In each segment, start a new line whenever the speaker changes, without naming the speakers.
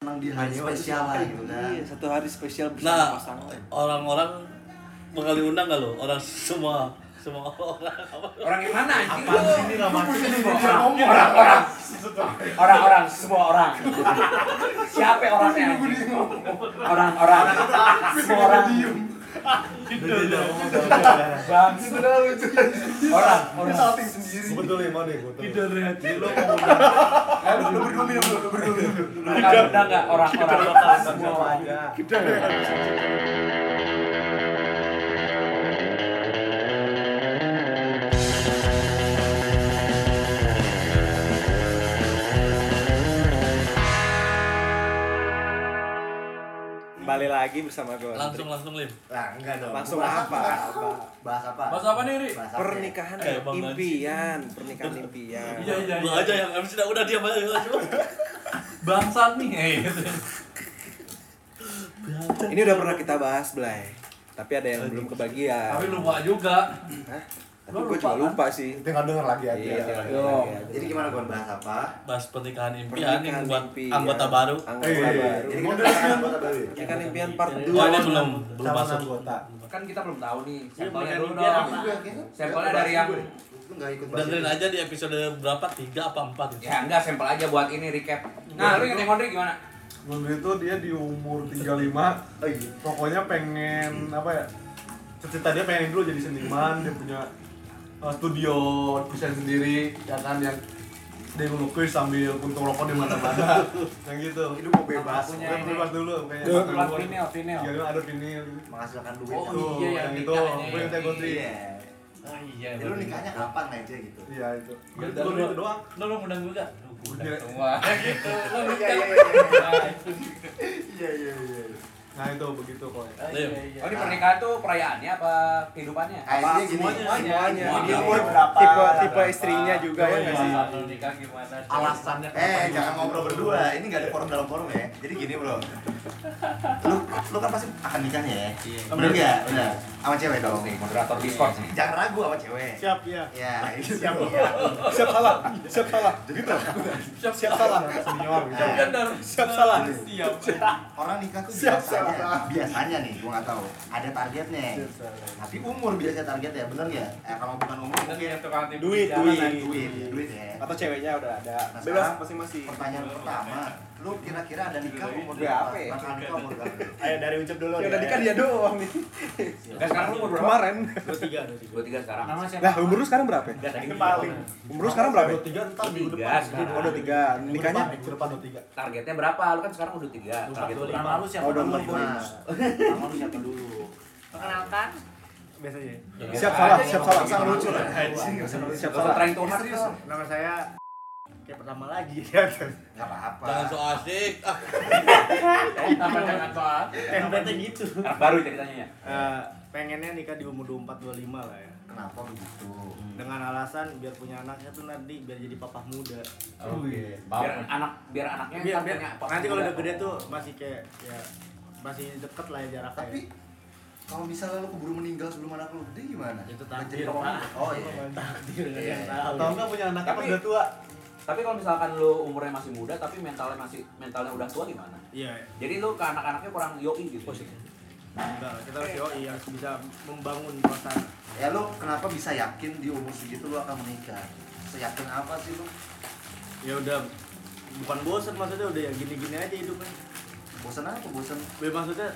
di hari
Iya,
Hanya waktu
spesial lah
itu.
gitu kan.
Iya, satu hari spesial
Nah,
bersama pasangan.
orang-orang bakal diundang gak lo? Orang semua semua orang apa?
Orang yang mana anjing?
Apaan sih ini romantis semua orang?
Orang-orang. Orang-orang, semua orang. Siapa orangnya? anjing? Orang-orang. Semua orang.
Iya.
Bang,
Sebenarnya lucu.
orang,
Dia
orang.
salting sendiri.
Betul ya, mana gue
Tidak rehat.
Lo
Eh, lu berdua minum, lu berdua minum.
Enggak, enggak, enggak. Orang-orang. Semua
mau
orang.
aja.
Kembali lagi bersama gue.
Langsung langsung lim.
Lah, enggak dong.
Langsung
Gua-
apa? apa?
Bahas apa?
Bahas apa nih, Ri?
Bahas apa?
Pernikahan
Kayak Bang
impian, pernikahan impian.
Iya, iya,
Gua
iya.
aja yang MC udah udah diam aja.
Bangsat nih. Eh, gitu.
Ini udah pernah kita bahas, Blay. Tapi ada yang belum kebagian.
Tapi lupa juga.
Hah? Tapi
Lu lupa,
gue juga
kan?
lupa sih.
Kita nggak denger lagi aja.
Iya,
Iya.
lagi-lagi,
Dong.
lagi-lagi.
Jadi gimana Gon bahas apa?
Bahas pernikahan impian
Pernikahan iya.
yang buat
impian.
anggota baru.
Iya,
Anggota
Eh,
baru.
Jadi kita bahas anggota baru. ya?
Pernikahan impian part
Oh,
2.
ini belum belum
Calon
masuk.
Iya. anggota.
Kan kita belum tahu nih. Sampelnya
Iya,
dulu
biar
dong.
Juga, kayaknya.
Sampelnya dari yang
Lu nggak ikut bahas
Dengerin
itu.
aja di episode berapa? 3 apa 4 itu.
Ya enggak, sampel aja buat ini recap.
Iya,
Nah, lu inget yang Ondri gimana?
Mundur itu dia di umur 35
Oh iya.
pokoknya pengen apa ya cita-cita dia pengen dulu jadi seniman dia punya uh, studio desain sendiri ya kan yang dia ngelukis sambil puntung rokok di mana-mana yang gitu
Hidup mau bebas.
Aku punya
Dia
ini.
bebas dulu kayaknya
Dulu,
Sampai
plat
umur
vinyl, vinyl.
Iya.
35 Iya, ada vinyl
Menghasilkan duit.
Oh,
Tuh,
iya, yang
yang itu
nikah ini.
gue yang teh gotri
Iya.
Oh iya.
Jadi Ya, lu nikahnya kapan aja gitu?
iya itu
Ya,
itu dulu
dulu.
itu doang
Lu lu ngundang gue gak? Lu gua
Iya.
undang semua. Gitu. Lu
Iya,
nikah.
iya, iya.
Nah, itu.
Iya, iya, iya.
nah itu begitu pokoknya
Ah, iya, iya.
Oh, ini pernikahan tuh perayaannya apa kehidupannya?
Ah,
Apa
isinya gini.
Semuanya.
Ini
Iya.
umur berapa?
Tipe tipe istrinya juga ya nggak sih?
Alasan lu nikah gimana?
alasannya eh jangan ngobrol berdua ini nggak ada forum dalam forum ya jadi gini bro lu lu kan pasti akan nikah nih ya bener nggak bener sama cewek dong
Moderator Discord nih.
jangan ragu sama cewek
siap ya
ya siap ya
Siap salah. Siap salah.
jadi tuh
Siap siap.
Siap salah.
senior gitu
Nah,
Bener.
Siap salah.
Siap.
orang nikah tuh
Siap,
biasanya biasanya nih gua nggak tahu ada targetnya tapi umur biasanya targetnya bener nggak eh kalau bukan umur
Bener
mungkin
ya, tukang tipu
Duit,
jalan,
duit.
anjing.
duit duit ya
Atau ceweknya udah ada. Iya,
Nah,
Bebas
sekarang
masing-masing.
pertanyaan pertama lu kira-kira ada nikah umur
Berapa
berapa
ya?
bakal nikah umur berapa
ayo dari ucap dulu
Ya udah nikah dia doang nih.
Nah, sekarang lu umur berapa?
Kemarin.
23 sekarang.
Nama siapa?
Lah, umur lu sekarang berapa? ya?
ini paling
Umur lu sekarang berapa? ya?
23 entar minggu
Tiga
depan
sekarang.
Oh, udah tiga. Nikahnya
minggu depan 23
Targetnya berapa? Lu kan sekarang udah 3. Target lu berapa?
Nama lu siapa?
Oh, udah
dulu,
mulai.
Boy?
Nah,
Nama lu siapa dulu?
Perkenalkan,
biasanya
Siap salah, siap salah.
Sang lucu lah.
Siap
Kalau
salah.
trying to hard serius.
nama saya kayak pertama lagi ya, kan?
Gak apa-apa.
Jangan so asik. Ah,
Nama jangan soal.
tempatnya gitu
Anak baru ceritanya ya.
Eh, pengennya nikah di umur 24 25 lah ya
Kenapa begitu?
dengan alasan biar punya anaknya tuh nanti biar jadi papa muda
Biar anak biar anaknya
biar,
ntar
biar
punya apa?
nanti kalau udah gede tuh masih kayak ya masih deket lah ya jaraknya
Tapi kalau misalnya lu keburu meninggal sebelum anak lu gede gimana?
Itu
Nggak jadi
takdir,
papa.
Pak.
Oh iya.
Iya.
Tahu.
atau enggak punya anak
Tapi-
pas udah tua
Tapi kalau misalkan lu umurnya masih muda tapi mentalnya masih mentalnya udah tua gimana?
iya
Jadi lu ke anak-anaknya kurang yoi gitu.
enggak kita harus yoi harus bisa membangun perasaan
Ya lu kenapa bisa yakin di umur segitu lu akan menikah? Seyakin apa sih lu?
ya udah bukan bosen maksudnya udah ya gini-gini aja hidupnya
Bosan apa bosan?
Ya, maksudnya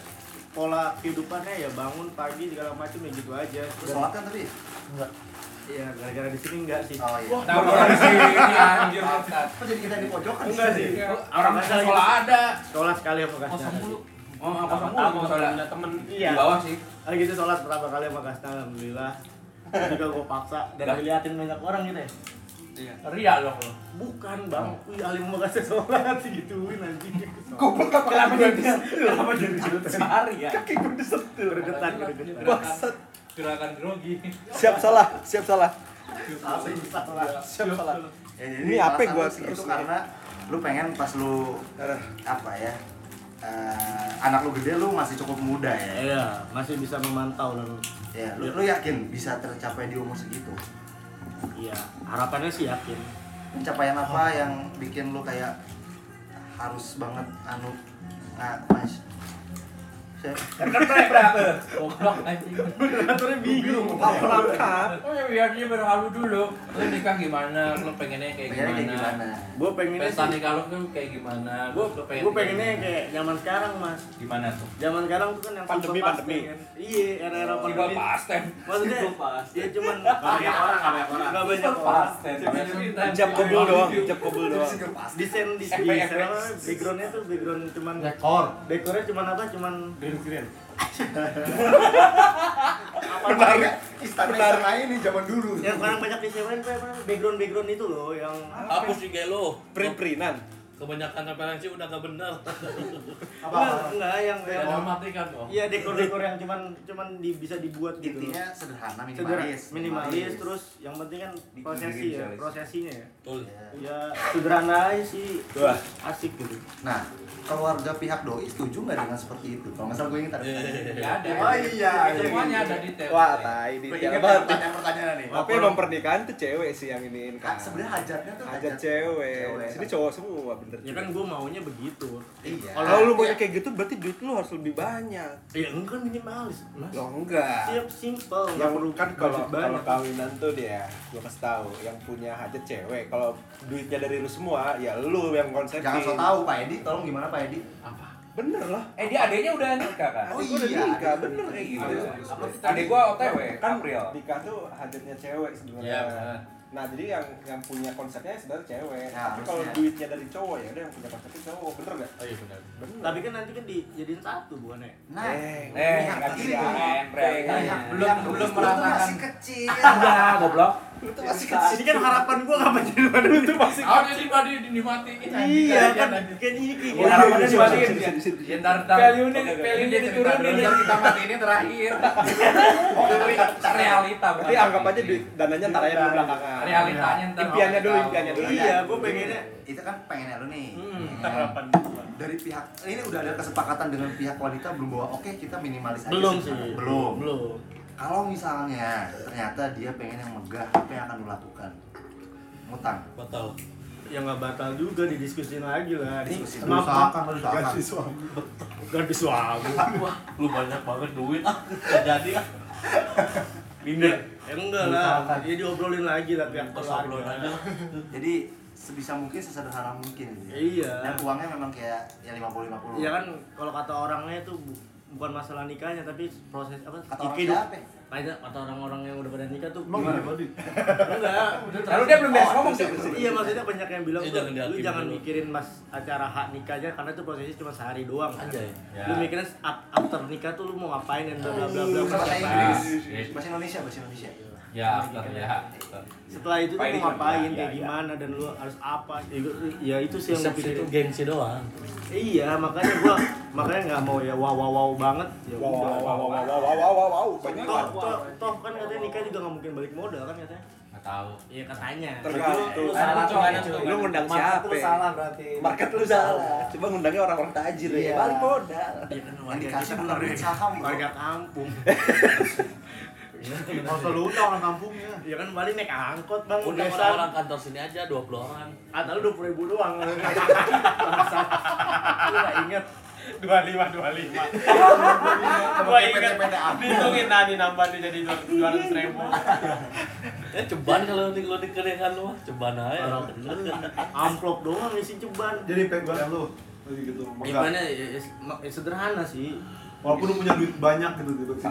pola kehidupannya ya bangun pagi segala macam ya gitu aja
Lu
Dan-
sholat kan tadi?
Iya, gara-gara di sini enggak sih.
Oh iya.
Tahu orang di sini anjir. Ustaz.
Kok jadi kita di pojokan
Enggak sih.
Orang
Makasih lagi.
sekolah ada.
Sholat sekali sama Kasna.
Kosong mulu.
Oh, apa
Kosong
kamu?
mulu.
Soalnya
Ada temen.
Iya.
di bawah sih.
Lagi itu sholat pertama kali sama Kasna, alhamdulillah. Juga gue paksa dan
Dah.
diliatin banyak orang gitu ya.
Ria dong lu.
Bukan bang, wih alim sama Kasna sholat digituin anjing.
Goblok apa lagi?
Kenapa jadi jutaan?
Sehari ya.
Kaki gue disentil.
Bergetan, bergetan.
Bangsat.
Gerakan grogi.
Siap salah, siap salah.
Apa yang bisa sholat?
Siap salah.
Ya,
Ini apa
alasan lu
gua
segitu
terus nih?
karena lu pengen pas lu
Eh,
apa ya? eh, anak lu gede lu masih cukup muda ya.
Iya, masih bisa memantau dan
Ya, lu, lu yakin bisa tercapai di umur segitu?
iya harapannya sih yakin.
Pencapaian apa yang bikin lu kayak "Ah, harus banget anu nah, mas saya
Ketek berapa? Goblok anjing.
Ngaturnya bingung.
Apa
lengkap
Oh ya biarnya berhalu dulu. Lu nikah gimana? Lu pengennya kayak
pengennya kayak gimana
gimana?
gue pengennya
Pesta
sih
nikah lu tuh kayak gimana?
gue
Lu pengen
gue pengennya kayak zaman sekarang mas
gimana tuh?
zaman sekarang tuh kan yang
Pandemi, pandemi.
serba pasti, kan? iya era era
Tiba
pandemi
pasten.
maksudnya ya cuman
banyak orang, nggak banyak orang.
nggak banyak orang
Pasten.
Jab kobel doang, jab kobel doang.
desain desain
Efek-
desain apa,
efek.
backgroundnya tuh background cuman
Dekor.
dekornya cuman apa cuman
Green screen.
menarik istana istana ini zaman dulu
yang sekarang banyak disewain tuh apa background background itu loh yang
Hapus IG lo.
Print-printan.
Kebanyakan referensi udah gak benar.
Apa?
Nggak, nggak yang yang-
Ada mati kan tuh.
Iya dekor-dekor yang cuman cuman di- bisa dibuat gitu.
intinya sederhana
Sederhana,
minimalis
minimalis terus yang penting kan
Bikin
prosesi
diri
ya,
minimalis.
prosesinya ya.
Betul.
Ya.
Ya sederhana aja sih.
Wah.
Asik gitu.
nah keluarga pihak doi setuju nggak dengan seperti itu kalau nggak salah gue ingat ada
Ya ada.
Oh iya.
Semuanya ada detail.
Wah, tai
Gue
detail
ingat
banget.
pertanyaan pertanyaan nih
Tapi emang pernikahan tuh cewek sih yang iniin
Ah,
kan.
sebenarnya hajatnya tuh
Ajak cewek.
cewek.
Sini cowok semua bener.
Ya kan gua maunya begitu.
iya
Kalau lu mau kayak gitu berarti duit lu harus lebih banyak.
Ya enggak minimalis. Mas.
Loh Ya enggak.
Siap simple, nggak
yang
perlu
kan kalau
budget
kalau
Iya, banyak.
kawinan tuh dia gua kasih tahu yang punya hajat cewek kalau duitnya dari lu semua ya lu yang konsepin
jangan so tau Pak Edi tolong gimana Pak Edi
bener lah
Eh dia adeknya udah nikah kan?
Oh,
Gua udah
iya.
nikah, bener kayak gitu
Adek gua OTW,
kan
April.
nikah tuh hajatnya cewek sebenarnya
Iya, bener.
nah jadi yang yang punya konsepnya sebenarnya cewek
Ya,
tapi kalau
harusnya.
duitnya dari cowok ya udah yang punya konsepnya cowok bener nggak
Oh iya benar.
bener
Tapi kan nanti kan dijadiin satu bukan ya?
nah
Eh,
Eh,
pihak
nggak
kecil
bisa.
ini.
Iya,
Belum
Pihak-
belum
pihak doi
belum
itu
merasakan.
masih kecil
Enggak, goblok.
Lu tuh masih kecil
Ini kan harapan gua nggak menjadi mana itu masih.
iya.
Ah, jadi tadi dimatiin.
Iya kan, kan ini
Ya,
Iya,
kayak
harapannya dimatiin. Ya ntar ntar.
Value-nya-
Oke, oke.
value-nya
Dia cerita
diturunin.
dulu, ntar kita matiin terakhir. Oh, tapi realita. bukan
berarti anggap aja
matiin.
duit dananya ntar aja dulu belakangan
Iya. Realitanya ntar.
Impiannya dulu, impiannya dulu.
Iya, gua pengennya
itu kan pengennya lu nih
Hmm.
Ya. dari pihak ini udah ada kesepakatan dengan pihak wanita belum bahwa oke kita minimalis aja
Belum
sekarang."
sih.
belum
belum.
kalau misalnya ternyata dia pengen yang megah apa yang akan lu lakukan ngutang
Batal.
ya nggak batal juga didiskusin lagi lah
Diskusi dulu.
kenapa
harus ganti
ganti suami
Wah, lu banyak banget duit ah. Gak jadi ah.
binder ya enggak lah
Diusahakan.
ya diobrolin lagi lah pihak
Pas obrolin aja.
keluarga
jadi sebisa mungkin sesederhana mungkin gitu ya.
Iya.
dan uangnya memang kayak ya 50-50
ya kan kalau kata orangnya itu bu- bukan masalah nikahnya tapi proses apa
kata orang
hidup.
siapa ya?
Banyak kata orang-orang yang udah pada nikah tuh
Emang
gimana?
gimana?
enggak
Lalu dia belum beres
Oh,
ngomong sih.
bisa, bisa.
iya maksudnya banyak yang bilang
Eh,
tuh
jangan
lu
dihakimi
jangan
dulu."
mikirin mas acara hak nikahnya karena itu prosesnya cuma sehari doang kan.
Anjay.
Ya.
lu mikirin saat after nikah tuh lu mau ngapain dan bla bla bla bla
Bahasa
bla, bla.
Inggris. bahasa Indonesia bahasa Indonesia
Iya.
Ya, after ya. after.
setelah itu tuh
Pak Edi
Ya,
mau ngapain
juga,
kayak
iya,
gimana dan lu harus apa ya, gua- ya itu sih yang gue
Resepsi itu
pikirin
gengsi doang.
iya makanya gua makanya nggak mau ya wow wow wow banget ya
wow wow wow
udah.
wow wow wow wow wow wow banyak
toh,
banget.
toh, toh kan katanya nikah juga nggak mungkin balik modal kan katanya
Nggak tahu.
iya katanya
tergantung
Salah tuh, ada tuh.
lu ngundang siapa
berarti.
market lu salah coba ngundangnya orang-orang tajir ya balik modal
iya kan
yang
warga
dikasih
kita
bukan duit saham bro.
warga kampung
Kalau selalu udah orang kampungnya.
iya kan balik naik angkot bang
Udah Ah,
Besan.
orang kantor sini aja 20 orang.
atau lu dua puluh ribu doang Bangsa. Lu nggak inget
Dua lima dua lima.
Sama
Gua
kayak
ingat.
PT-PTAN.
Dihitungin tadi nambah nih jadi dua ratus ribu.
Ya ceban kalau di kalau dikerekan lu mah ceban aja.
Parah bener. amplop doang isi ceban
Jadi pegangan lu. Jadi gitu.
gimana ya, ya, ya sederhana sih
Walaupun lu punya duit banyak gitu gitu sih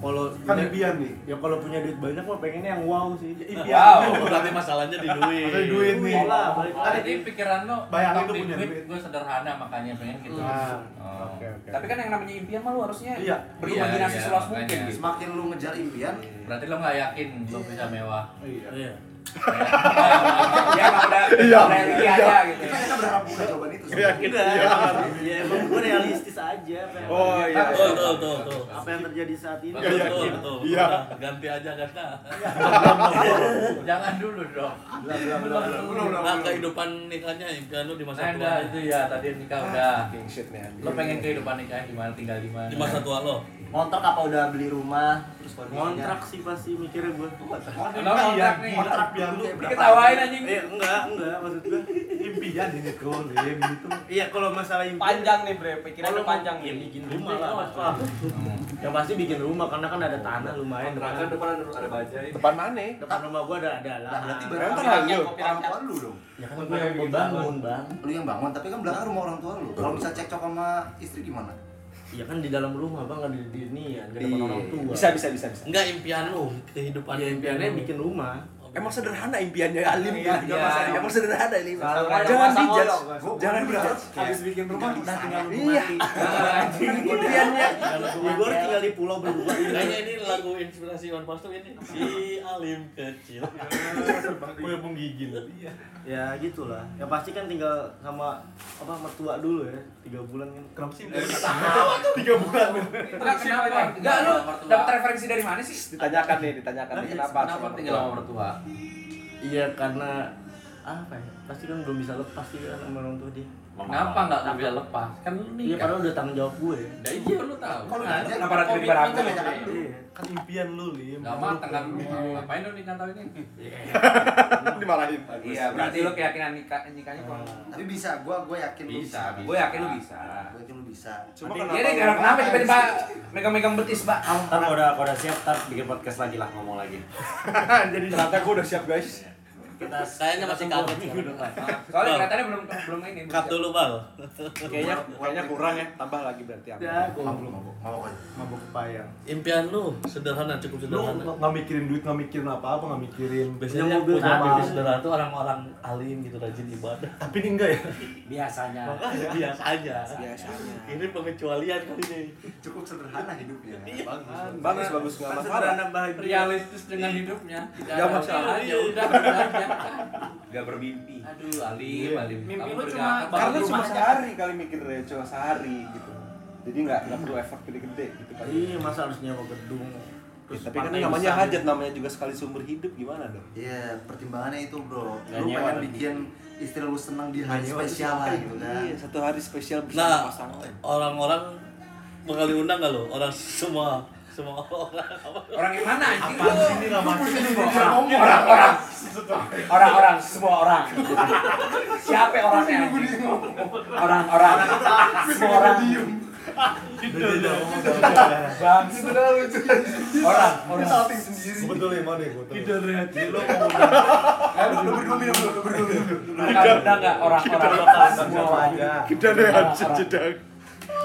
kalau
Kan impian nih.
ya kalau punya duit banyak mah pengennya yang wow sih
Wow, berarti masalahnya di duit.
Ada duit nih.
Duit lah, Iya, balik
Oh,
lagi.
jadi pikiran lo
Bayangin lu punya duit.
gue sederhana makanya pengen gitu.
Nah.
Oh.
Oke, oke.
Tapi kan yang namanya impian mah lu harusnya
Iya.
berimajinasi
Iya, iya,
seluas
makanya.
mungkin gitu.
semakin lu ngejar impian
Berarti lo nggak yakin lo bisa mewah.
Iya.
Iya.
ya emang udah reality aja gitu.
kita kita berharap bukan jawaban itu
Iya.
sebenarnya.
Enggak, emang, ya emang gue realistis aja apa yang,
oh iya
Tuh, tuh, tuh, tuh.
apa yang terjadi saat ini.
Betul, betul,
Iya.
betul.
Iya.
Udah, Ganti aja kata.
Jangan dulu dong.
iya,
Nah, kehidupan nikahnya impian lu di
Nah,
masa
udah
tua.
itu ya tadi nikah udah.
king shit Iya. nih anjing.
Lo pengen kehidupan nikahnya gimana tinggal di mana?
Di masa tua lo.
ngontrak apa udah beli rumah terus baru
Ngontrak sih pasti mikirnya gue.
Lo kontrak nih.
Iya,
Kontrak yang lu.
Diketawain anjing.
Eh Iya, enggak, enggak maksud gue.
impian ini tuh Lim itu
Iya kalau masalah impian
Panjang nih bre, pikirannya panjang
ya
nih.
Iya.
bikin rumah lah. Pak. Yang pasti bikin rumah karena kan ada tanah lumayan.
Kontrakan
Depan,
depan ada, ada bajai.
Depan mana?
depan rumah gua ada ada
Lah berarti
lahan.
berarti orang
Kan lu.
tua lu dong.
Ya kan gua yang bangun bang.
Lu yang bangun, tapi kan belakang rumah orang tua lu. Kalau bisa cekcok sama istri gimana?
Iya kan di dalam rumah bang nggak di di ini ya di depan
Iya.
orang tua.
Bisa bisa bisa bisa.
Enggak impian lu, kehidupan
Ya impiannya bikin rumah.
Emang sederhana impiannya Alim ya.
Iya, iya.
Emang sederhana ini.
Kalau
Jangan
ada masa
dijudge.
ngolong, Mas.
Jangan berharap.
Habis bikin rumah udah tinggal
Iya. Impiannya.
Ya, Gua tinggal di pulau berdua.
Iya.
Kayaknya ini lagu inspirasi One Pass tuh ini Si Alim kecil
punya penggigil
Ya gitulah. Ya pasti kan tinggal sama apa mertua dulu ya tiga bulan kan.
kenapa sih
Tiga bulan.
Enggak kenapa? Enggak lu dapat referensi dari mana sih?
Ditanyakan nih, ditanyakan nih kenapa?
Kenapa tinggal sama mertua?
Iya karena apa ya? Pasti kan belum bisa lepas sih kan sama orang tua dia.
Kenapa enggak lu bisa lepas? Kan lu
Iya
nikah.
padahal udah tanggung jawab gue. ya.
Nah, iya lu tahu.
Kalau
Nah,
nanya,
Kenapa ada
kalau
diri berantem?
minta nanya
Iya.
Iya, kan impian lu Lim
Enggak matang kan
Iya.
lu. Ngapain lu nikah tahun ini?
Dimarahin.
Iya, berarti lu keyakinan nikah nikahnya kurang.
Tapi bisa, gua gua yakin lu
Bisa,
bisa.
gue yakin lu bisa.
Gua yakin lu bisa.
Cuma
Iya
kenapa?
deh, kenapa kenapa tiba-tiba megang-megang betis, Pak?
Ntar kalau udah, kalau udah siap, ntar bikin podcast lagi lah, ngomong lagi
Jadi ternyata gue udah siap guys.
Kita
Kayaknya masih kaget sekarang.
Soalnya
Bang.
kelihatannya belum belum ini. belum
Cut
siap.
dulu bal
Kayaknya kayaknya kurang ya. Tambah lagi berarti. Amin.
ya gua
Mabuk, mabuk, mabuk. aja.
mabuk payang
Impian lu sederhana,
lu
cukup sederhana
nggak mikirin duit nggak mikirin apa apa nggak mikirin
Biasanya
punya
yang punya
apa.
mimpi sederhana tuh orang-orang alim gitu rajin ibadah
tapi ini enggak ya
biasanya
Biasa aja
Biasanya.
Ini pengecualian kali ini
Cukup sederhana hidupnya. Bagus.
Bagus bagus nggak
Kan
masalah.
sederhana bahagia.
Iya.
realistis dengan hidupnya tidak
Gak
ada
masalah.
masalah
Iya,
ya udah belajar Iya.
Gak bermimpi.
aduh alim alim
Mimpi
Kamu
lu
bergabung.
cuma
Karena
Bangun
cuma
rumah aja.
sehari kali mikirnya, cuma sehari gitu. Jadi nggak nggak perlu effort gede-gede gitu kali.
Iya masa harus nyewa gedung.
Ya,
Terus
tapi kan
pantai
namanya
besar.
hajat namanya juga sekali sumber hidup gimana dong?
Iya, pertimbangannya itu, Bro.
Nggak
Lu
nyewa
pengen
lagi.
bikin istri lu seneng di hari spesial lah gitu kan.
Iya, satu hari spesial
Nah,
bersama pasangan.
orang-orang bakal diundang gak lo? Orang semua semua orang apa?
orang yang mana anjing
apaan
lu?
sih ini nggak masuk
orang-orang orang-orang semua orang siapa orangnya anjing? orang-orang semua orang
Udah, udah, udah, udah, udah.
bang orang orang
Salting sendiri.
Gua betul ya mana ya, gua betul.
Lu berdua minum, lu berdua minum.
Enggak, enggak, enggak, orang-orang semua orang
Kita lihat sejedak.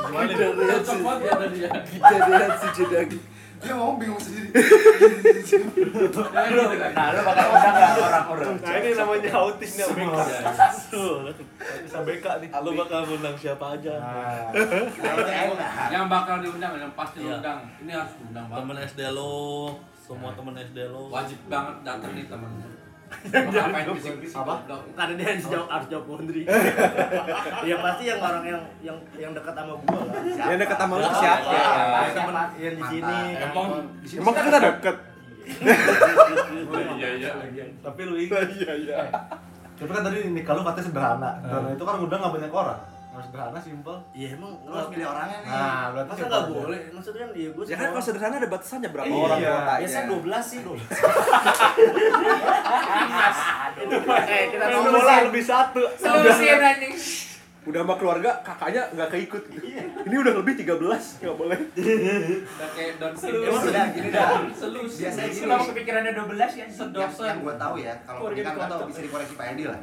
cocok banget ya tadi ya
Kita lihat sejedak.
Dia ngomong bingung sendiri.
Jangan gitu kan. nah lu bakal undang nggak orang-orang
Nah, ini namanya autis nih, Bang.
Oh, iya, Tuh, iya.
Bisa BK nih
lo bakal ngundang siapa aja?
yang bakal diundang yang pasti
Iya.
diundang ini harus diundang banget
Temen SD lo, semua temen SD lo.
wajib banget datang nih temen ngapain bisik-bisik
Apa?
goblok.
karena dia harus jauh harus jauh laundry ya pasti yang orang yang yang yang dekat sama gua lah
Yang dekat sama lu siapa?
Yang teman yang di sini
emang
Emang kan kita dekat.
iya iya
tapi lu ingat
Iya, iya.
Eh.
tapi kan tadi nikah lu katanya sederhana
Eh.
sederhana itu kan udah nggak banyak orang harus sederhana simpel
ya emang
Lu harus milih orangnya nih.
nah berarti
masa
simpel
nggak
aja.
boleh maksudnya kan dia gua
Ya kan kalau sederhana ada batasannya berapa
Iya.
orang
Biasanya
kuotanya.
12 sih 12
kita
Main bola
solusin
lebih satu.
solusin anjing
Udah sama keluarga, kakaknya nggak keikut. gitu. Ini udah lebih 13, nggak boleh.
udah kayak don
Emang
solusi
sudah gini dah.
solusi
Biasanya gini.
kenapa kepikirannya 12 ya sedot
yang, yang gue tahu ya kalau ini kan nggak tahu bisa dikoreksi Pak Edi lah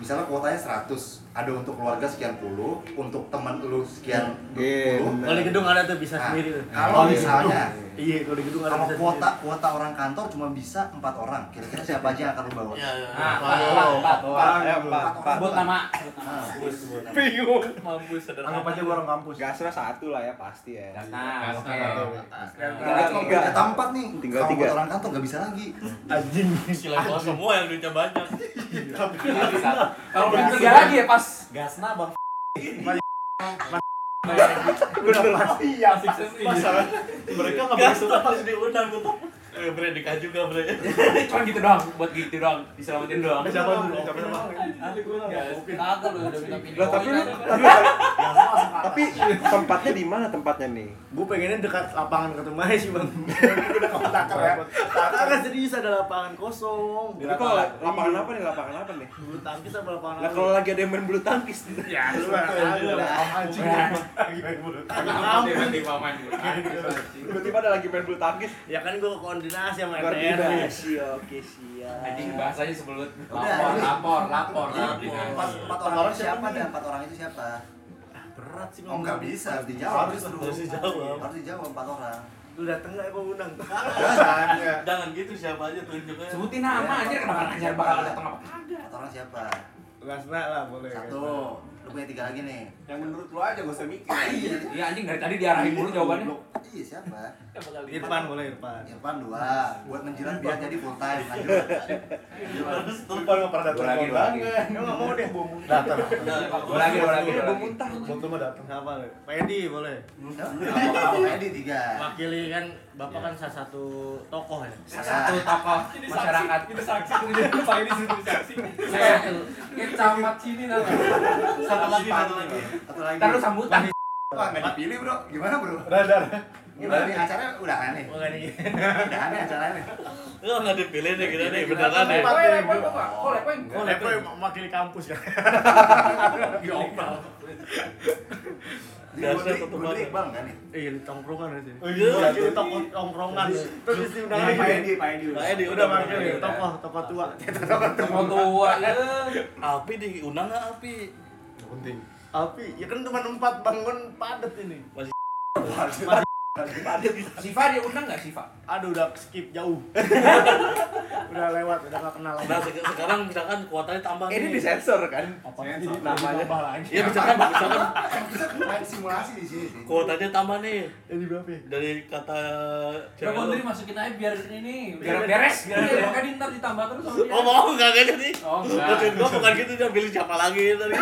misalnya kuotanya 100 ada untuk keluarga sekian puluh untuk teman lu sekian
Iya,
puluh
kalau di gedung ada tuh bisa
Nah,
sendiri tuh
kalau
Oh, iya.
misalnya
iya kalau di gedung ada
kalau
bisa
kuota kuota orang kantor cuma bisa empat orang kira-kira siapa aja yang akan lu bawa
Iya,
Nah,
Ya, ya.
Nah,
Apa?
Pak, Pak, Pak.
Ya, Pak, Pak.
Sebut nama,
Bingung.
mampus sederhana.
anggap aja gua orang kampus
Gasnya satu lah ya pasti ya.
Nah, oke.
Kalau cuma
Tiga.
kata empat nih
Tinggal
kalau
tiga.
buat orang kantor nggak bisa lagi
anjing
Gila, gua semua yang duitnya banyak.
Kalau belum tiga lagi ya pas.
Gasna bang
Udah pasti.
Iya, sukses nih.
mereka nggak
Gas
boleh
tuh harus diundang tuh. Eh, bre, nikah juga, bre.
Cuman gitu doang, buat gitu doang, diselamatin doang.
Siapa dulu? Siapa dulu?
Kagak lu udah minta pindah.
Lah tapi lu
Oh,
tapi, tapi tempatnya di mana tempatnya nih?
Gue pengennya dekat lapangan ketemu aja sih bang.
udah kamu takar ya
Kagak serius ada lapangan kosong.
Itu kalau lapangan apa nih? Lapangan apa nih?
Bulu tangkis apa lapangan?
Lah kalau lagi ada yang main bulu tangkis.
ya, lu lah. Kagak mau.
tiba-tiba main bulu tangkis.
Tiba-tiba ada lagi main bulu tangkis.
Ya kan gue koordinasi sama
Koordinasi.
RT. Siap, oke siap.
Anjing bahasanya sebelut.
Udah,
Lapor,
ini-
lapor, lapor, lapor.
empat empat orang itu siapa dan empat orang itu siapa
Berat sih
oh
ngomong.
nggak bisa harus dijawab
Harus-
justru
harus dijawab.
harus dijawab empat orang
Lu dateng gak gue undang?
Jangan, ya.
Jangan gitu siapa aja tunjuk aja.
Sebutin nama aja kenapa ngajar bakal datang apa?
empat orang siapa
Lasna lah boleh.
satu lu punya tiga lagi nih
Yang menurut lo aja gak usah mikir.
iya
Iya anjing dari tadi diarahin mulu jawabannya.
iya siapa
Irfan boleh Irfan.
Irfan dua buat menjilat biar jadi full time lanjut
Terus tuh
Irfan pernah
Gua lagi, gua lagi.
Enggak mau deh bom muntah. Datang.
Gua lagi, gua lagi, gua
Bom
lagi.
muntah.
Bom mah datang apa lu? Pedi boleh.
Apa Edi tiga
Wakili kan, bapak kan salah satu tokoh ya.
Satu tokoh masyarakat.
Kita saksi, kita saksi, kita saksi.
Saya kecamat sini nama.
satu lagi satu lagi.
satu lagi
Ntar lu sambutan.
Wah, nggak dipilih bro gimana bro
Radar.
gimana nih acaranya udah aneh
Bukan ini.
udah aneh acaranya nih
Iya. Lu nggak dipilih nih kita nih beneran nih.
Lepoin, lepoin, Bapak. Kok lepoin?
Gue lepo wakili kampus kan.
Dia
Dasar
Gue
tuh
gue
tempatnya.
Iqbal kan nih
Iya, di tongkrongan di sini.
Oh, iya.
Wakili tokoh tongkrongan. Terus di sini
Pak Edi, Pak Edi.
Pak Edi udah
Udah gitu.
manggil.
manggil tokoh, tokoh tua. Gitu.
Mau tua. ya.
Api diundang nggak Api?
Penting.
Tapi ya kan cuma empat bangun padet ini.
Siva dia undang nggak Siva?
Aduh udah skip jauh. udah lewat, udah gak kenal
Nah
lagi.
se- sekarang misalkan kuotanya tambah.
Ini
nih.
disensor kan?
Namanya
Namanya.
lagi.
Iya misalkan misalkan
main simulasi di sini sih
kuotanya tambah nih
Ini berapa? ya?
dari kata
Udah
cewek lu.
Bondri masukin aja biar ini nih.
Biar beres.
Biar
Iya,
beres.
makanya dia ntar ditambah terus sama dia.
Oh mau nggak kayak jadi?
Oh, enggak.
Maksud gua bukan gitu dia pilih siapa lagi tadi.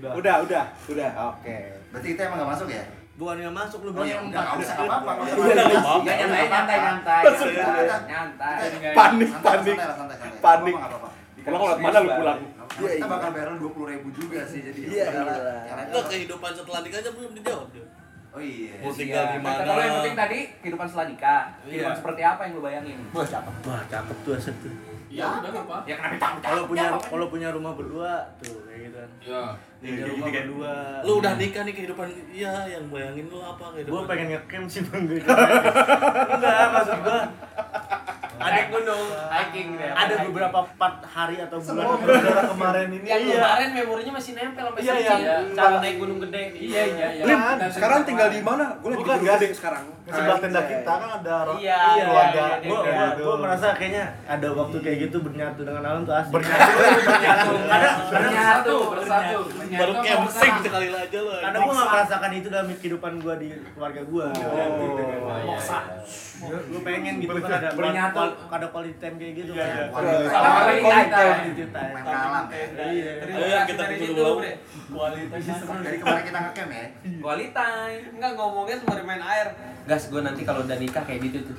Udah.
Udah, udah, udah. Oke.
berarti kita emang nggak masuk ya
Bukan yang masuk lu
Oh ya
bilang
udah nggak usah nggak apa-apa nggak kan?
Udah, nggak apa-apa.
Nggak, Iya, nyantai, nyantai, nyantai. Nyantai. Iya.
Santai,
Panik, panik.
santai lah, santai, santai.
Panik.
Nggak apa-apa,
Pulang lewat mana lu pulang?
nggak apa-apa. Kita bakal bayar dua puluh ribu juga sih, jadi
Iya,
udahlah.
iya.
Caranya
Nggak
apa?
kehidupan setelah nikah aja belum dijawab dia.
Oh iya.
Mau tinggal di mana?
Kalau yang penting tadi kehidupan setelah nikah. Kehidupan
Iya.
seperti apa yang lu bayangin?
Wah, cakep tuh aset tuh.
Iya, udah apa? Ya kenapa takut?
Kalau punya kalau punya rumah berdua tuh kayak gitu kan.
Ya.
Iya,
Punya rumah berdua.
Lu udah nikah nih kehidupan iya yang bayangin lu apa kehidupan?
Gua pengen ngecamp sih Bang. gua. Enggak, maksud gua
Naik gunung, hiking gitu ya.
ada
Hiking.
beberapa part hari atau
Semua
bulan
berdarah kemarin ini.
Yang
Iya.
kemarin
memorinya masih nempel sampai
Iya,
sekarang.
iya.
Cara naik gunung gede.
Iya, iya, iya.
Lim,
Dan
sekarang
sejak
tinggal
kemarin.
di mana? Gue lagi
Bukan,
di
nggak ada.
Gading sekarang.
Sebelah tenda kita kan ada ro-
Iya,
Iya,
iya,
keluarga. gitu.
iya,
Gua,
iya.
gua, gua merasa kayaknya ada waktu kayak gitu bernyatu dengan alam tuh asik.
Bersatu, bersatu,
Bersatu,
bersatu.
baru camping sekali aja lu.
Karena gua gak merasakan itu dalam kehidupan gua di keluarga gua.
Oh.
Gitu kan,
Moksa.
Lu pengen gitu kan ada
Bernyatu.
kual- ada quality time kayak gitu
Iya, iya.
kan.
Wanita,
Kalau
main
kali kita.
Quality time.
kalam ya.
Iya.
Ayo kita
Dari
tidur
situ,
dulu.
Bre.
Dari kemarin kita ngecamp ya.
Kualitas. Enggak ngomongnya cuma di main air.
Gas gua nanti kalau udah nikah kayak gitu tuh.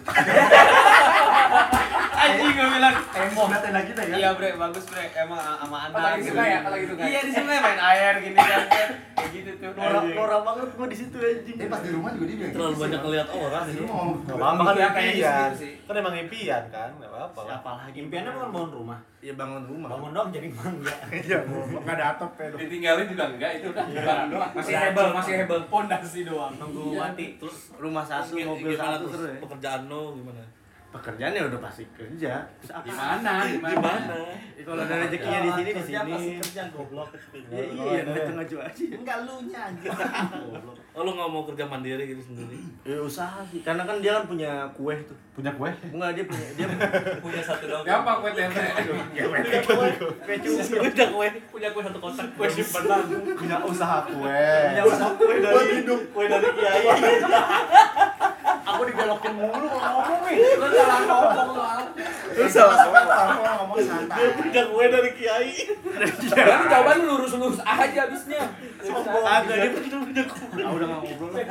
Anjing gue bilang.
Sebelah tenda kita ya.
Iya bre, bagus bre. Emang sama anak.
lagi suka ya, kalau gitu kan?
Iya di sini main air gini kan. Kayak gitu tuh.
Norak norak banget gua di situ anjing.
Tapi pas di rumah juga dia bilang
Terlalu
gitu sih,
banyak
Bang.
ngeliat orang
Di
sih.
rumah ngomong
Nggak apa-apa kan
Iya, kayak
impian.
gitu sih.
Kan emang impian kan, enggak apa-apa lah.
Apalagi
Impiannya bukan bangun rumah.
ya bangun rumah.
Bangun dong jadi mangga.
Enggak ada atap ya. dong.
Ditinggalin juga enggak itu udah barang Iya, doang. Masih
Berhasil.
hebel, masih hebel pondasi doang.
Nunggu mati.
Terus
Rumah satu,
gi-
mobil
gimana
satu
terus
terus. ya.
pekerjaan lu gimana?
Pekerjaannya udah pasti kerja. Terus apa?
Di mana?
Di
Di
mana?
mana?
Ya, Kalau ada rezekinya di sini di sini.
kerja goblok.
Ya iya, dateng aja aja.
Enggak lu nyangka.
Oh lu nggak mau kerja mandiri gitu sendiri?
Ya usaha sih, karena kan dia kan punya kue tuh.
Punya kue?
Enggak dia punya dia
Punya satu doang.
Gampang gue tempe.
kue cumi.
Udah gue
Punya gue satu kotak.
gue simpenan.
Punya usaha kue.
Punya usaha kue dari hidup.
Gue dari kiai.
Aku digolokin mulu kalau ngomong nih.
Lu salah ngomong lu. Al.
Lu salah ngomong, ngomong, ngomong santai.
Udah gue dari kiai.
Baru jawaban lurus-lurus aja abisnya.
Agak dia begitu punya kubu.
Ah udah nggak ngobrol lah.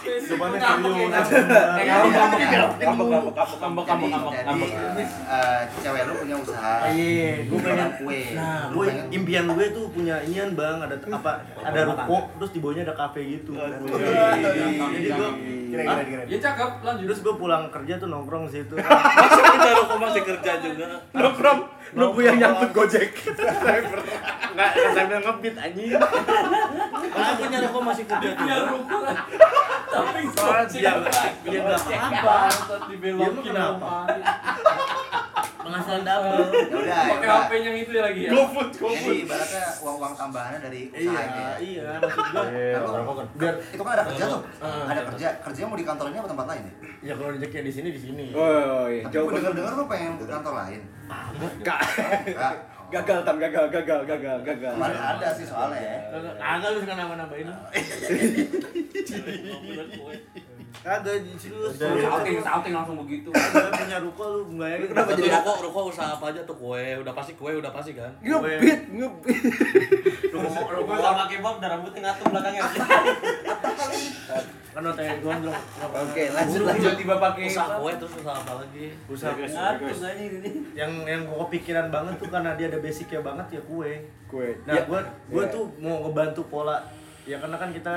Coba nih
Ngambek
serius.
ya,
Nah,
Ngambek.
Ngambek, ngambek, ngambek.
Ngambek,
Jadi,
ngambek, ngambek,
jadi
ngambek.
eh, cewek lu punya usaha.
Iya, gue pengen
jualan kue.
Nah,
Lu
gue
pengen-
impian gue tuh punya inian bang, ada apa? Ada ruko, terus di bawahnya ada kafe gitu. Jadi gue,
Kira-kira kira.
Ya cakep, lanjut.
terus gue pulang kerja tuh nongkrong di situ.
Masa kita rokok masih kerja juga.
Nongkrong, nunggu yang nyangkut gojek.
Enggak, sambil ngebit anjing.
Masa punya rokok masih kerja juga.
Tapi
Soalnya
Iya,
dia dia nggak apa-apa. Dia mah
dibelokin
kenapa? Penghasilan double.
Ya udah. ya
Pakai
udah.
HP yang itu ya lagi ya.
Jadi ibaratnya uang-uang tambahannya dari usaha
Iya,
ini ya.
iya maksud gue.
Biar itu kan ada kerja tuh. Ada kerja. Kerjanya mau di kantor ini apa tempat lain ya?
Ya kalau rezekinya di sini di sini.
Oh. Woi,
Tapi
jauh kan?
gue denger-denger lu pengen ke kantor lain.
Gak.
Enggak.
Gagal tam, gagal, gagal, gagal, gagal.
Kemarin ada sih soalnya. Iya.
Agak lu suka nambah-nambahin lu. Kagak di sini lu.
Outing, outing langsung begitu.
Iya.
Gue punya ruko lu enggak yakin.
Kenapa jadi rokok? Rokok usaha apa aja tuh kue? Udah pasti kue, udah pasti kan?
Ngebit, ngebit.
Iya.
Gue sama kebab dan rambutnya ngatur belakangnya.
Kan otaknya gue bilang
Oke, lanjut lanjut.
Tiba-tiba pakai
Usaha kue terus usaha apa lagi?
usaha kue.
Ngatur aja ini.
yang yang gue kepikiran banget tuh karena dia ada basicnya banget ya kue
Kue.
nah
Ya,
gue gue
ya.
tuh mau ngebantu pola ya karena kan kita